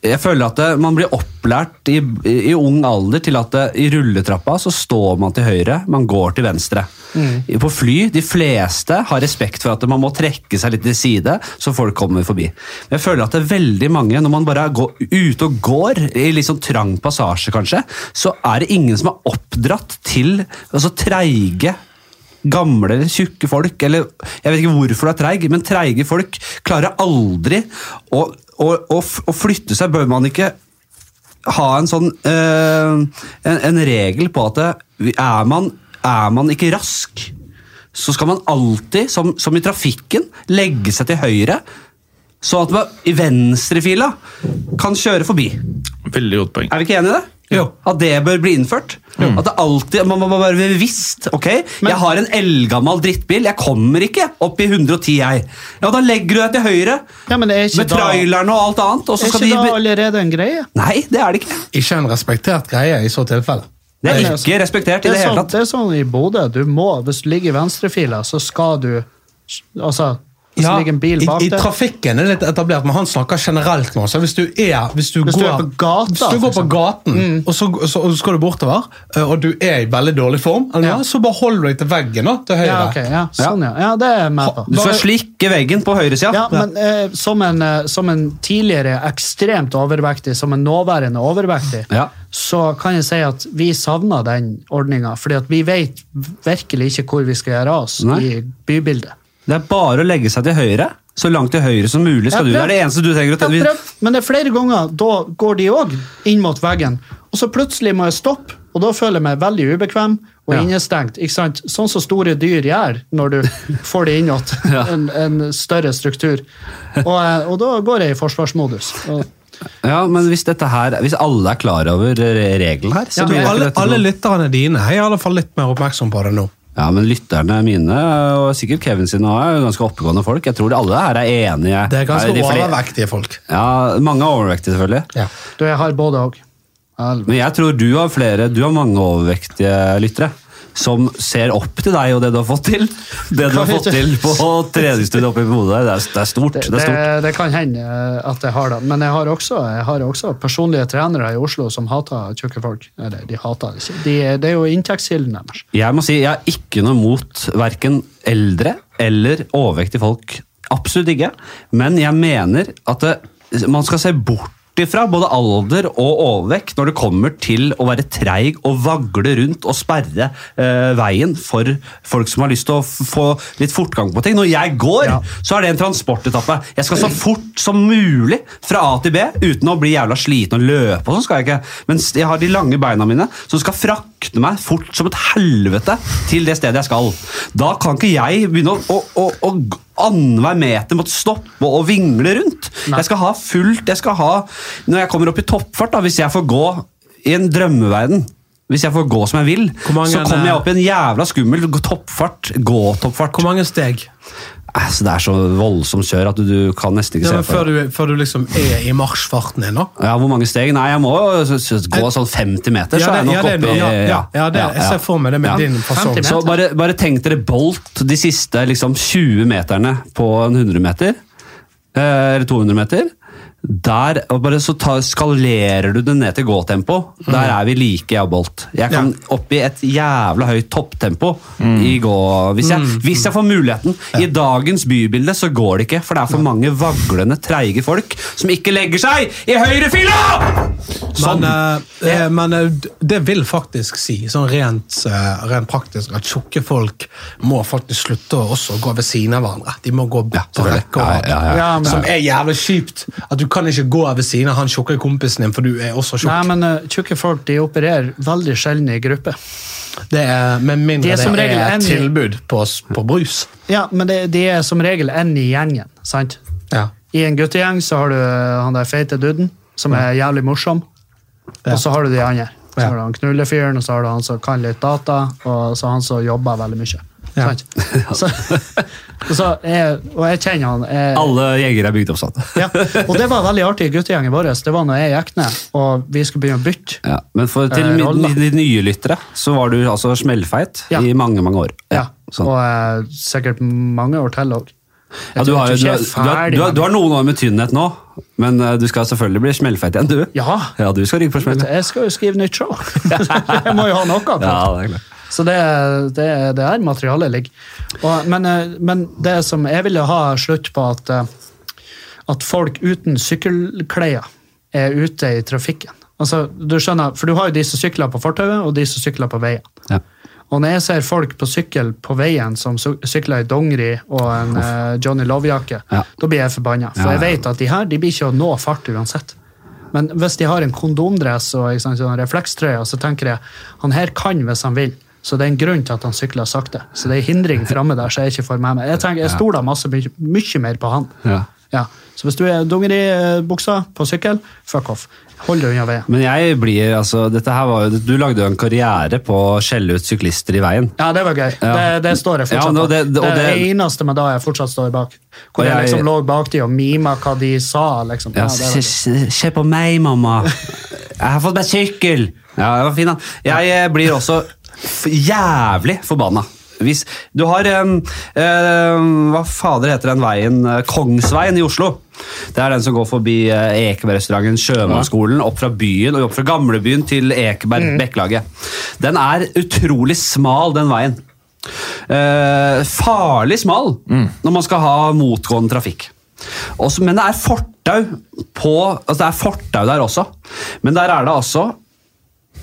jeg føler at det, Man blir opplært i, i, i ung alder til at det, i rulletrappa så står man til høyre, man går til venstre. På fly, de fleste har respekt for at man må trekke seg litt til side, så folk kommer forbi. Men jeg føler at det er veldig mange, når man bare er gå, ute og går, i litt sånn trang passasje kanskje, så er det ingen som er oppdratt til altså treige Gamle eller tjukke folk, eller jeg vet ikke hvorfor du er treig, men treige folk klarer aldri å, å, å, f- å flytte seg. Bør man ikke ha en sånn eh, en, en regel på at det, er, man, er man ikke rask, så skal man alltid, som, som i trafikken, legge seg til høyre, så at man i venstrefila kan kjøre forbi.
Veldig godt poeng.
Er vi ikke enige i det?
Jo.
At det bør bli innført? At det alltid, Man må bare være bevisst. ok? jeg har en eldgammel drittbil, jeg kommer ikke opp i 110, jeg. Ja, Da legger du deg til høyre
Ja, men er ikke
med
da, er
trailerne og alt annet. og så
ikke
skal de...
da allerede en greie?
Nei, det er det ikke.
Ikke en respektert greie i så tilfelle.
Det
Nei,
er
altså,
ikke respektert
Det
i
er,
det hele
sånn,
tatt.
det er sånn i Bodø. Du må, hvis du ligger i venstrefila, så skal du Altså, hvis det ligger en bil
i,
bak
I
deg
trafikken er det litt etablert, men han snakker generelt nå. Så hvis du er, hvis du
Hvis du
går,
er på gata,
hvis du
for
går på
Mm.
gaten og så, så, og så skal du bortover, eh, og du er i veldig dårlig form, eller,
Ja.
noe, så bare hold deg til veggen da, til høyre.
ja, ok, ja, sånn, ja. ja, det er jeg med på.
Du skal slikke veggen på høyresida.
Ja, men eh, som, en, eh, som en tidligere ekstremt overvektig, som en nåværende overvektig,
Ja.
så kan jeg si at vi savner den ordninga. fordi at vi vet virkelig ikke hvor vi skal gjøre av oss
Nei.
i bybildet.
Det er bare å legge seg til høyre. Så langt til høyre som mulig skal du. Det
Jeg har
er det eneste du trenger å
prøvd. Jeg
tenke.
har prøvd, Men det er flere ganger da går de òg inn mot veggen, og så plutselig må jeg stoppe. Og da føler jeg meg veldig ubekvem og
Ja.
innestengt. ikke sant? Sånn som store dyr gjør når du får det innåt. En, en større struktur. Og, eh, og da går jeg i forsvarsmodus. Og,
Ja, men hvis, dette her, hvis alle er klar over eh, regelen her, så
Ja,
blir det ikke
Alle,
dette noe-
alle lytterne dine jeg er i alle fall litt mer oppmerksom på det nå.
Ja, men lytterne mine, og sikkert Kevin sine, også, er jo ganske oppegående folk. Jeg tror alle her er enige.
Det er ganske
de fle-
overvektige folk.
Ja, mange er overvektige, selvfølgelig.
Ja.
Du, jeg har både òg.
Men jeg tror du har flere, du har mange overvektige lyttere. Som ser opp til deg og det du har fått til. Det du har fått til på treningsstudiet oppe i Bodø. Det, er- det er stort.
Det,
Det er stort.
det, det kan hende eh, at jeg har det, men jeg har, også, jeg har også personlige trenere i Oslo som hater tjukke folk. Eller, de hater det ikke. De, det er jo inntektskilden deres.
Jeg må si, jeg har ikke noe mot verken eldre eller overvektige folk. Absolutt ikke. Men jeg mener at det, man skal se bort ifra både alder og overvekt når det kommer til å være treig og vagle rundt og sperre eh, veien for folk som har lyst til å f- få litt fortgang på ting. Når jeg går, så er det en transportetappe. Jeg skal så fort som mulig fra A til B uten å bli jævla sliten og løpe. og sånn skal jeg ikke. Mens jeg har de lange beina mine som skal frakte meg fort som et helvete til det stedet jeg skal. Da kan ikke jeg begynne å, å, å, å g- annenhver meter måtte stoppe og vingle rundt. Jeg skal ha fullt jeg skal ha, Når jeg kommer opp i toppfart, da, hvis jeg får gå i en drømmeverden hvis jeg får gå som jeg vil,
Hvor mange
så
er det-
kommer jeg opp i en jævla skummel g- toppfart. Gå-toppfart.
Hvor mange steg?
Altså, det er så voldsomt kjør at du, du kan nesten ikke
Ja, men
se på
før,
det.
du, før du liksom er i marsjfarten din, da.
Ja, Hvor mange steg? Nei, jeg må jo s- s- gå sånn 50 meter, så er jeg
det-
nok
det er
oppe
noe.
i
ja, ja, ja, det, jeg ser for meg det med
Ja.
din fasong.
50
Så
meter.
bare, bare tenk dere Bolt de siste liksom, 20 meterne på en 100 meter. eh, Eller 200 meter. Der og bare så ta, skalerer du det ned til gåtempo. Der er vi like jeg og Bolt. Jeg kan opp i et jævla høyt topptempo i gå... Hvis jeg, hvis jeg får muligheten. I dagens bybilde så går det ikke, for det er for mange vaglende, treige folk som ikke legger seg i høyrefila! Sånn.
Men, eh, eh, men eh, d- det vil faktisk si, sånn rent, eh, rent praktisk, at tjukke folk må faktisk slutte å også gå ved siden av hverandre. De må gå på rekke og rad.
Ja, ja, ja.
Ja, men-
Som er jævlig kjipt. At du kan ikke gå ved siden av han tjukke kompisen din, for du er også
Nei,
tjukk.
men eh, tjukke folk de opererer veldig sjelden i gruppe.
Det er med mindre
De er
det
som
er,
regel en-
tilbud på, s- på brus.
Ja, men det, de er som regel en i gjengen. sant?
Ja.
I en guttegjeng så har du eh, han der feite duden, som er jævlig morsom.
Ja.
Og så har du de andre. Så
Ja.
har du han knullefyren, og så har du han som kan litt data, og så han som jobber veldig mye.
Ja.
Sant? Så, og, så jeg, og jeg kjenner han. Jeg,
Alle jegere er bygd opp sånn.
ja. Og det var veldig artig i guttegjengen vår. Det var når jeg gikk ned, og vi skulle begynne å bytte.
Ja, men for, til
Eh,
mi-
roll, da.
de nye lyttere så var du altså smellfeit
Ja.
i mange mange år.
Ja,
sånn.
Og eh, sikkert mange år til òg.
ja, du, har, jo- du, har, du, har, du, har, du har noen år med tynnhet nå, men eh, du skal selvfølgelig bli smellfeit igjen, du.
Ja.
du skal rygge på smell.
Jeg skal jo skrive nytt show. jeg må jo ha noe.
Ja,
Ja.
det er klart.
Så det, det, det er materialet ligger. Og, men, eh, men det som jeg ville ha slutt på, at, eh, at folk uten sykkelklær er ute i trafikken. Altså, du skjønner, For du har jo de som sykler på fortauet, og de som sykler på veien.
Ja.
Og når jeg ser folk på sykkel på veien som su- sykler i dongeri og en eh, Johnny Love-jakke,
Ja.
da blir jeg forbanna. For
Ja, ja,
jeg vet at de her de blir ikke å nå fart uansett. Men hvis de har en kondomdress og ikke sant, sånn reflekstrøye, så tenker jeg han her kan hvis han vil. Så det er en grunn til at han sykler sakte. Så det er en hindring framme der så jeg ikke får med meg. Jeg tenker, jeg stoler masse, mye, mye mer på han.
Ja.
Ja. Så hvis du er dongeribuksa på sykkel, fuck off. Hold deg unna veien.
Men jeg blir, altså, dette her var jo, du lagde jo en karriere på å skjelle ut syklister i veien.
Ja, det var gøy.
Ja.
Det, det står jeg
Ja,
fortsatt
nå,
bak.
det- det- og
det, er
det-
det eneste med da jeg fortsatt står bak.
Og
Hvor jeg,
jeg-
liksom lå bak de og mima hva de sa. liksom.
Ja,
Ja, det var
se,
gøy.
se- se på meg, mamma. Jeg har fått meg sykkel! Ja, det var fin, da. Jeg eh, blir også f jævlig forbanna. Hvis du har em, em, Hva fader heter den veien? Eh, Kongsveien i Oslo. Det er den som går forbi eh, Ekeberg-restauranten, Sjømannsskolen, opp fra byen og opp fra gamlebyen til Ekeberg Bekkelaget. Den er utrolig smal, den veien. Eh, farlig smal når man skal ha motgående trafikk. Også, men det er fortau på altså Det er fortau der også, men der er det altså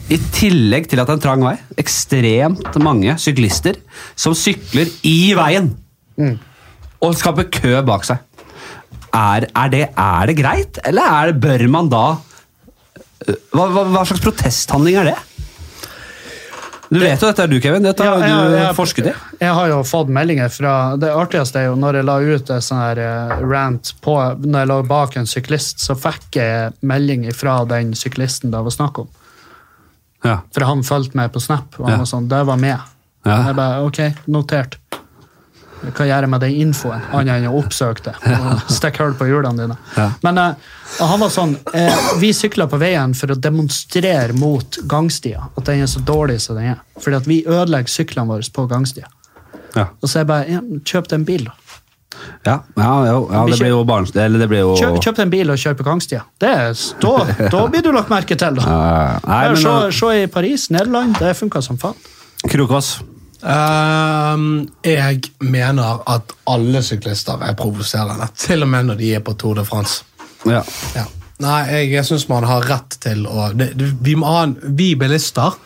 i tillegg til at det er en trang vei, ekstremt mange syklister som sykler i veien
Mm.
og skaper kø bak seg. Er, er, det, er det greit, eller er det, bør man da øh, hva, hva, hva slags protesthandling er det? Du vet jo dette er du, Kevin. Dette har
Ja,
du
jeg- jeg-
forsket i.
Jeg har jo fått meldinger fra Det artigste er jo når jeg la ut en sånn her eh, rant på Når jeg lå bak en syklist, så fikk jeg melding fra den syklisten det var snakk om.
Ja.
For han fulgte meg på Snap, og han
Ja.
var sånn Det var med.
Ja.
Jeg bare OK, notert. Hva gjør jeg med den infoen, annet enn å oppsøke det? og Stikke hull på hjulene dine.
Ja.
Men eh, og han var sånn eh, Vi sykla på veien for å demonstrere mot gangstia. At den er så dårlig som den er. Fordi at vi ødelegger syklene våre på gangstia.
Ja.
Og så jeg bare ja, men Kjøp deg en bil, da.
Ja, ja, jo, ja,
Vi
det blir jo barns... Eller det blir jo
Kjøp, kjøp deg en bil og kjør på gangstia. Det, er- da, da blir du lagt merke til, da.
Ja, Nei,
Ja,
men
Se
uh,
se i Paris, Nederland. Det funka som faen.
Krokås.
Ehm, jeg mener at alle syklister er provoserende, til og med når de er på Tour de France.
Ja.
Ja. Nei, jeg, jeg syns man har rett til å det, det, vi, må ha en, vi bilister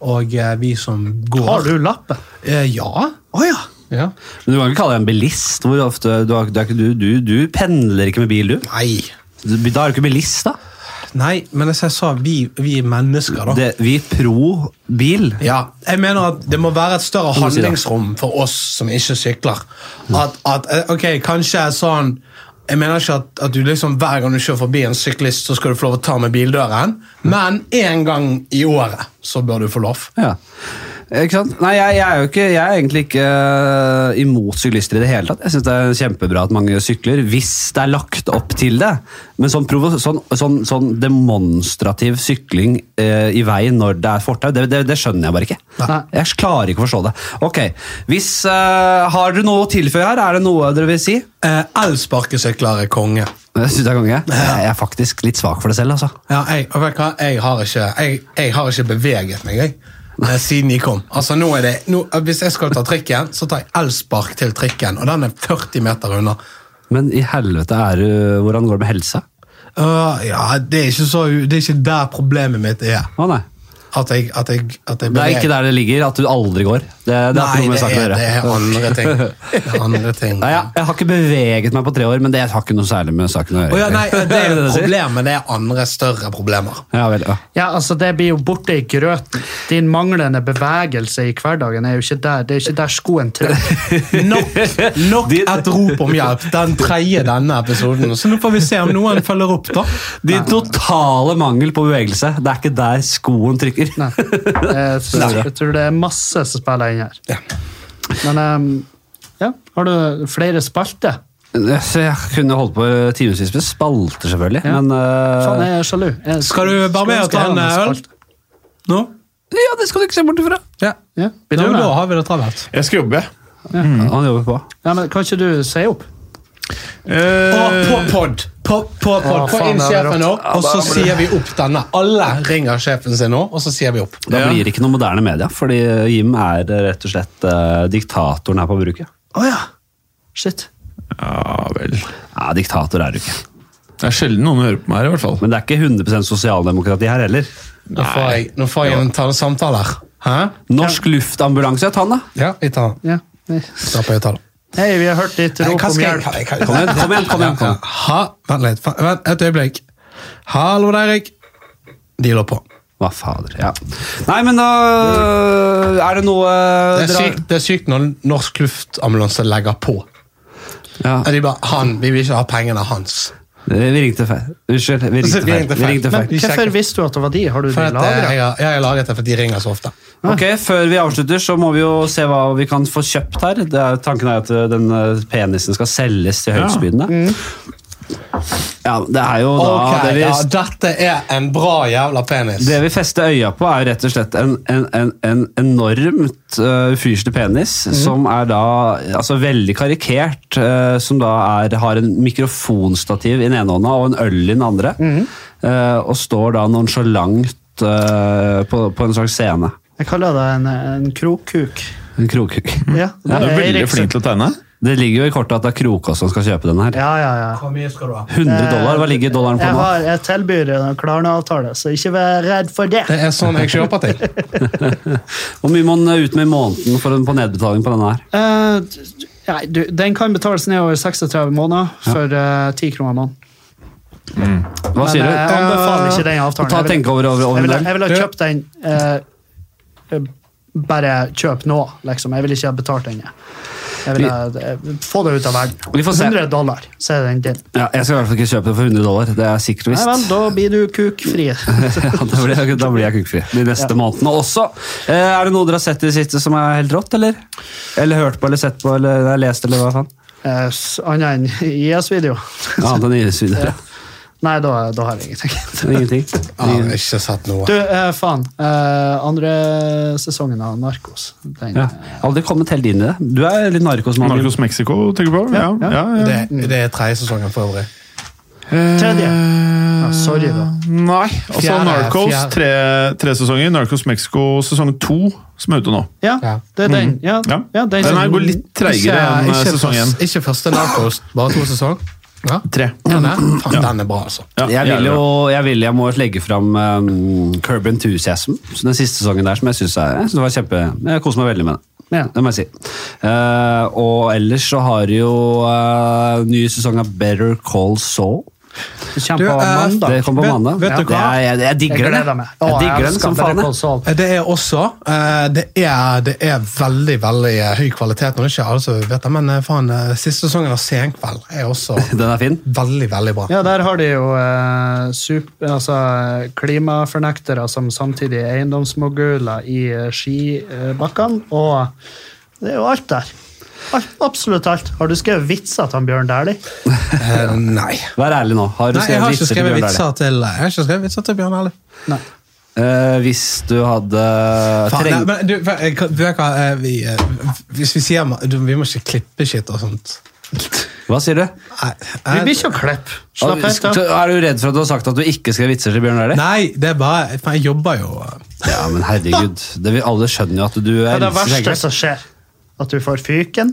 og eh, vi som går
Har du lappen?
Eh, ja.
Å ja!
ja.
Men du kan ikke kalle deg en bilist. Hvor ofte, du, har, du, er ikke- du, du, du pendler ikke med bil, du.
Nei.
Du- Da er du ikke bilist, da.
Nei, men altså, jeg sa vi, vi er mennesker, da.
Det, vi er pro bil.
Ja, jeg mener at Det må være et større
må si det.
handlingsrom for oss som ikke sykler. At, at eh, ok, kanskje er sånn Jeg mener ikke at, at du liksom hver gang du kjører forbi en syklist, så skal du få lov å ta med bildøren, men én gang i året så bør du få lov.
Ja. Ikke sant? Nei, jeg, jeg er jo ikke, jeg er egentlig ikke øh, imot syklister i det hele tatt. Jeg synes det er kjempebra at mange sykler, hvis det er lagt opp til det. Men sånn, provo sånn, sånn, sånn demonstrativ sykling øh, i veien når det er fortau, det, det, det skjønner jeg bare ikke.
Nei.
Jeg klarer ikke å forstå det. Ok, hvis, eh, øh, Har dere noe å tilføye her? Er det noe dere vil si?
Eh, Elsparkesykler er konge.
Men jeg synes det er konge. Jeg er faktisk litt svak for det selv, altså.
Ja, jeg, og vet du hva? jeg, har ikke, jeg, jeg har ikke beveget meg jeg, eh, siden de kom. Altså, nå er det, nå, hvis jeg skal ta trikken, så tar jeg elspark til trikken, og den er 40 meter unna.
Men i helvete er du Hvordan går det med helsa?
Øh, ja, det er, ikke så, det er ikke der problemet mitt er.
Å nei.
At jeg, at jeg, at jeg
Det er ikke der det ligger, at du aldri går. Det, det er ikke noe med
Nei, det
saken å
er,
gjøre.
det er andre ting. Det er andre ting.
Nei, jeg, jeg har ikke beveget meg på tre år, men det har ikke noe særlig med saken å gjøre.
Å ja, nei, det er
du
et
sier?
problem, men det er andre større problemer.
Ja, vel, ja.
Ja, altså Det blir jo borte i grøten. Din manglende bevegelse i hverdagen er jo ikke der. Det er ikke der skoen trykker.
Nok, nok et rop om hjelp. Den tredje denne episoden. Så nå får vi se om noen følger opp, da.
Din totale mangel på bevegelse. Det er ikke der skoen trykker.
Nei. Jeg, tror- jeg tror det er masse som spiller inn her.
Ja.
Men ehm, ja, har du flere spalter?
Så jeg kunne holdt på timevis med spalter, selvfølgelig.
Ja.
Men øh,
Faen, jeg er sjalu. Jeg,
Eh, Skal du være med
skulle
og ta
ønske jeg
en eh,
hadde
øl?
spalte.
Nå?
Ja, det skal du ikke se bort ifra!
Ja.
Ja, blir
Da,
du med?
da har vi det travelt.
Jeg skal jobbe, jeg.
Mm.
Han jobber på.
Ja, men kan ikke du si opp?
Eh,
Og på pod. Eh, På, på pod.
Å,
Få
faen,
inn
det er
sjefen nå,
rått.
og så sier vi opp denne. Alle ringer sjefen sin nå, og så sier vi opp.
Da
Ja.
blir det ikke noe moderne media, fordi eh, Jim er rett og slett øh, diktatoren her på bruket.
Å ja. Shit.
Ja vel.
Ja, diktator er du ikke.
Det er sjelden noen hører på meg her, i hvert fall.
Men det er ikke 100 sosialdemokrati her heller.
Nå får jeg, nå får jeg en ta- samtale her. Hæ?
Norsk luftambulanse, ta den, da!
Ja, vi tar den.
Ja. Nei.
Da får jeg ta den.
Hei, vi har hørt ditt
Nei,
rop
hva
om
skal jeg-
hjelp.
hva- hva-
Kom igjen, kom igjen, kom igjen, kom igjen.
Ha, vent litt, fa- vent et øyeblikk. Hallo, det er Erik. De lå på.
Hva fader, ja. Nei, men da er det noe
Mm.
eh,
Det er
dere har-
sykt, det er sykt når norsk luftambulanse legger på.
Ja.
Ja, De bare, han, Vi vil ikke ha pengene hans.
Vi ringte feil. Unnskyld, vi ringte
Så vi
feil.
ringte
Vi
feil.
ringte
Men-
feil.
Hvorfor visste du at det var de? Har du
For
de
at, eh, jeg,
lagra?
har- jeg har laget det fordi de ringer så ofte.
Ok, Før vi avslutter, så må vi jo se hva vi kan få kjøpt her. Det er, tanken er at ø, den ø, penisen skal selges til høystbydende. Ja, det er jo da
Mm. Ok,
det, vi,
ja, Dette er en bra jævla penis.
det vi fester øya på, er jo rett og slett en, en, en, en enormt ø, ufyselig penis,
Mhm.
som er da altså veldig karikert, ø, som da er, har en mikrofonstativ i den ene hånda og en øl i den andre,
Mhm.
ø, og står da nonsjalant ø, på, på en slags scene.
Jeg kaller det en, en krokkuk.
En krokhugg.
Mm. Ja, det
Du er
er
veldig
Erik sin.
flink til å tegne.
Det ligger jo i kortet at det er Krokås som skal kjøpe denne her.
Ja, ja, ja.
Hvor mye skal du ha?
100 dollar, hva ligger dollaren på
Jeg,
nå?
har, jeg tilbyr en Klarna-avtale, så ikke vær redd for det.
Det er sånn jeg kjøper til.
Hvor mye må den ut med i måneden for en på nedbetaling på denne her?
Eh, d- nei, du, den kan betales ned over 36 måneder for eh, 10 kroner måneden.
Hva
Men
sier
eh, jeg
du?
anbefaler ikke den avtalen.
Ta
Jeg vil-
tenke over over, over
Jeg
en
ville
del.
jeg ville ha kjøpt den eh, Bare kjøp nå, liksom. Jeg ville ikke ha betalt den. jeg. Jeg ville eh, få det ut av verden.
Vi får se.
100 dollar, så er den din.
Ja, jeg skal i hvert fall ikke kjøpe den for 100 dollar, det er sikkert og
Nei vel,
visst.
da blir du kukfri.
Ja, da blir jeg, da blir jeg kukkfri de neste månedene også. Eh, er det noe dere har sett i det siste som er helt rått, eller? Eller hørt på, eller sett på, eller lest, eller hva faen?
Eh, s- Annet enn IS-video.
Ja, den gis videre.
Nei, da, da har jeg ingenting.
Ingenting.
Jeg har ikke sett noe.
Du, eh, faen. Eh, andre sesongen av Narkos. Den,
Ja. Aldri kommet helt inn i det. Du er litt narkosmann. Jim.
Narcos Mexico, tenker du på? Ja, ja, ja.
Det, det er tredje sesongen for øvrig.
Tredje. Ja, sorry, da.
Nei. Altså
Fjerde,
Narcos
fjerde.
tre, tre sesonger. Narcos Mexico sesong to, som er ute nå.
Ja, det er den. Ja,
Ja.
ja, den,
Den her går litt treigere enn eh,
Ikke
sesong én.
først- Ikke første Narcos, bare to sesong. Ja.
Tre.
Den er, faen, den er bra, altså.
Ja,
jeg vil
jævlig
jo
bra.
jeg, vil, jeg må legge fram um, Curb Enthusiasm, så den siste sesongen der, som jeg syns var kjempe Jeg koser meg veldig med den.
Ja.
Det må jeg si. Eh, og ellers så har jo uh, ny sesong av Better Call Saul.
Kjempe
Du, eh,
på mandag.
Det kommer på
Vet-
mandag.
vet du
Ja.
hva?
Jeg, jeg, jeg digger
Jeg
den.
gleder meg.
jeg. Jeg digger den som faen. jeg.
faen.
Det er også eh, det er, det er veldig veldig eh, høy kvalitet. Nå er det ikke alle som vet det, men eh, faen, eh, siste sesongen av Senkveld er også
Den er fin.
veldig, veldig bra.
Ja, der har de jo eh, sup- altså, klimafornektere som samtidig er eiendomsmoguler i eh, skibakkene, og det er jo alt der. Alt, absolutt alt. Har du skrevet vitser til han Bjørn Dæhlie?
Eh, nei.
Vær ærlig nå. Har du
nei. Jeg har ikke
vitser til
skrevet
Bjørn Dæhlie?
vitser til, eh, jeg har ikke skrevet vitser til Bjørn Erle.
Nei.
Eh, hvis du hadde
Faen,
treng...
nei, men du, jeg eh, kan- vet du hva, eh, vi, eh, hvis vi sier du, Vi må ikke klippe shit og sånt.
Hva sier du?
Nei, eh,
Vi
jeg-
blir ikke å klippe. Slapp helt
Så
av.
er du redd for at du har sagt at du ikke skrev vitser til Bjørn Dæhlie?
Nei, det er bare for Jeg jobber jo eh,
Ja, men herregud. Det vil, alle skjønner jo at du
Det
er
er det
elsker
verste
Heggelund.
som skjer. At du får fyken.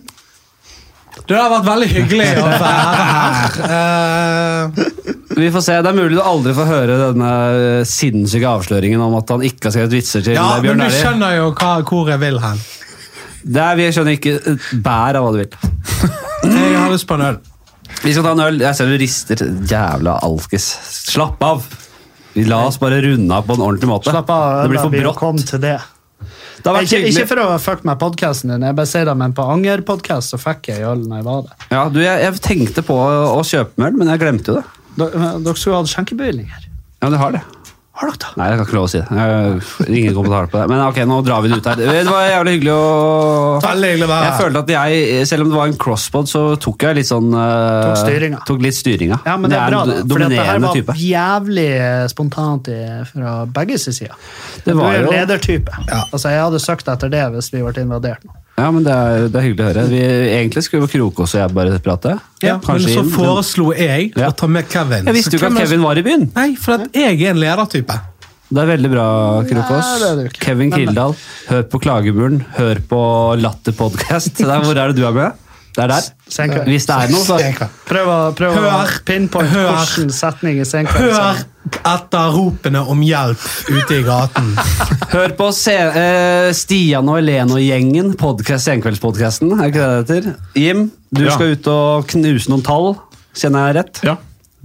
Det har vært veldig hyggelig å være her. Eh,
Vi får se. Det er mulig du aldri får høre denne eh, sinnssyke avsløringen om at han ikke har skrevet vitser til
ja,
eh,
men
Bjørn
du
Dæhlie.
skjønner jo hva, hvor jeg vil hen.
Det er- Vi skjønner ikke et bær av hva du vil.
Jeg har lyst på en øl.
Vi skal ta en øl. Jeg ser du rister. Jævla alkis. Slapp av! Vi La oss bare runde av på en ordentlig måte.
Slapp av.
det blir
da
for
vi
brått.
kom til det.
Det har vært
Ikke, ikke
hyggelig.
for å fucke med podkasten din, jeg bare sier det, men på Anger-podkast så fikk jeg øl når jeg var der.
Ja, du, jeg, jeg tenkte på å, å kjøpe meg øl, men jeg glemte jo det.
Dere dere skulle hatt skjenkebevilgninger.
Ja, du har det.
Har dere det?
Nei, jeg har ikke lov å si det. Jeg- Ingen kommentarer på det. Men ok, nå drar vi det ut her. Det var jævlig hyggelig å
Veldig hyggelig å være
Jeg
her.
følte at jeg, selv om det var en crosspod, så tok jeg litt sånn eh,
Tok styringa.
Tok litt styringa.
Ja, men det er bra, da.
en do-
For det her
dominerende
var
type.
jævlig eh, spontant i- fra begge sin side.
Det var
du er
jo-
ledertype. Altså, jeg hadde søkt etter det hvis vi ble invadert nå.
Ja, men det er, det er hyggelig å høre. Vi, egentlig skulle jo Krokås og jeg bare prate.
Ja, men
Kanskje
så
inn, men-
foreslo jeg
Ja.
å ta med Kevin.
Jeg visste jo ikke
Så
at
hvem er-
Kevin var i byen.
Nei, for at jeg er en ledertype.
Det er veldig bra, Krokås.
Nei, det er det jo ikke.
Kevin Kildahl, hør på Klagemuren, hør på Latter podcast. Det er- Hvor er det du er med? Det er der.
Senkveld.
Hvis det er noe, så
Senkveld.
Prøv å, prøv å
Hør.
pinpoint
Hør.
hvilken setning i senkveld
Hør
som-
etter ropene om hjelp ute i gaten.
Hør på se, eh, Stian og Helene og gjengen, podcast, Senkveldspodkasten. Er ikke det det heter? Jim, du
Ja.
skal ut og knuse noen tall. Kjenner jeg rett?
Ja.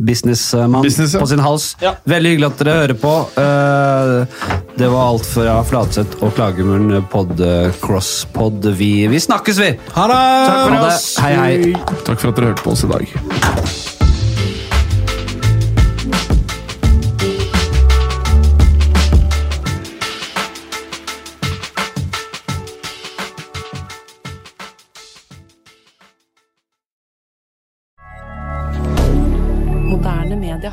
Businessmann
Business, ja.
på sin hals. Veldig hyggelig at dere hører på. Eh, det var alt fra Flatseth og Klagemuren pod, eh, crosspod. Vi, vi snakkes, vi!
Ha det!
Ha det. Hei, hei.
Takk for at dere hørte på oss i dag.
Moderne media.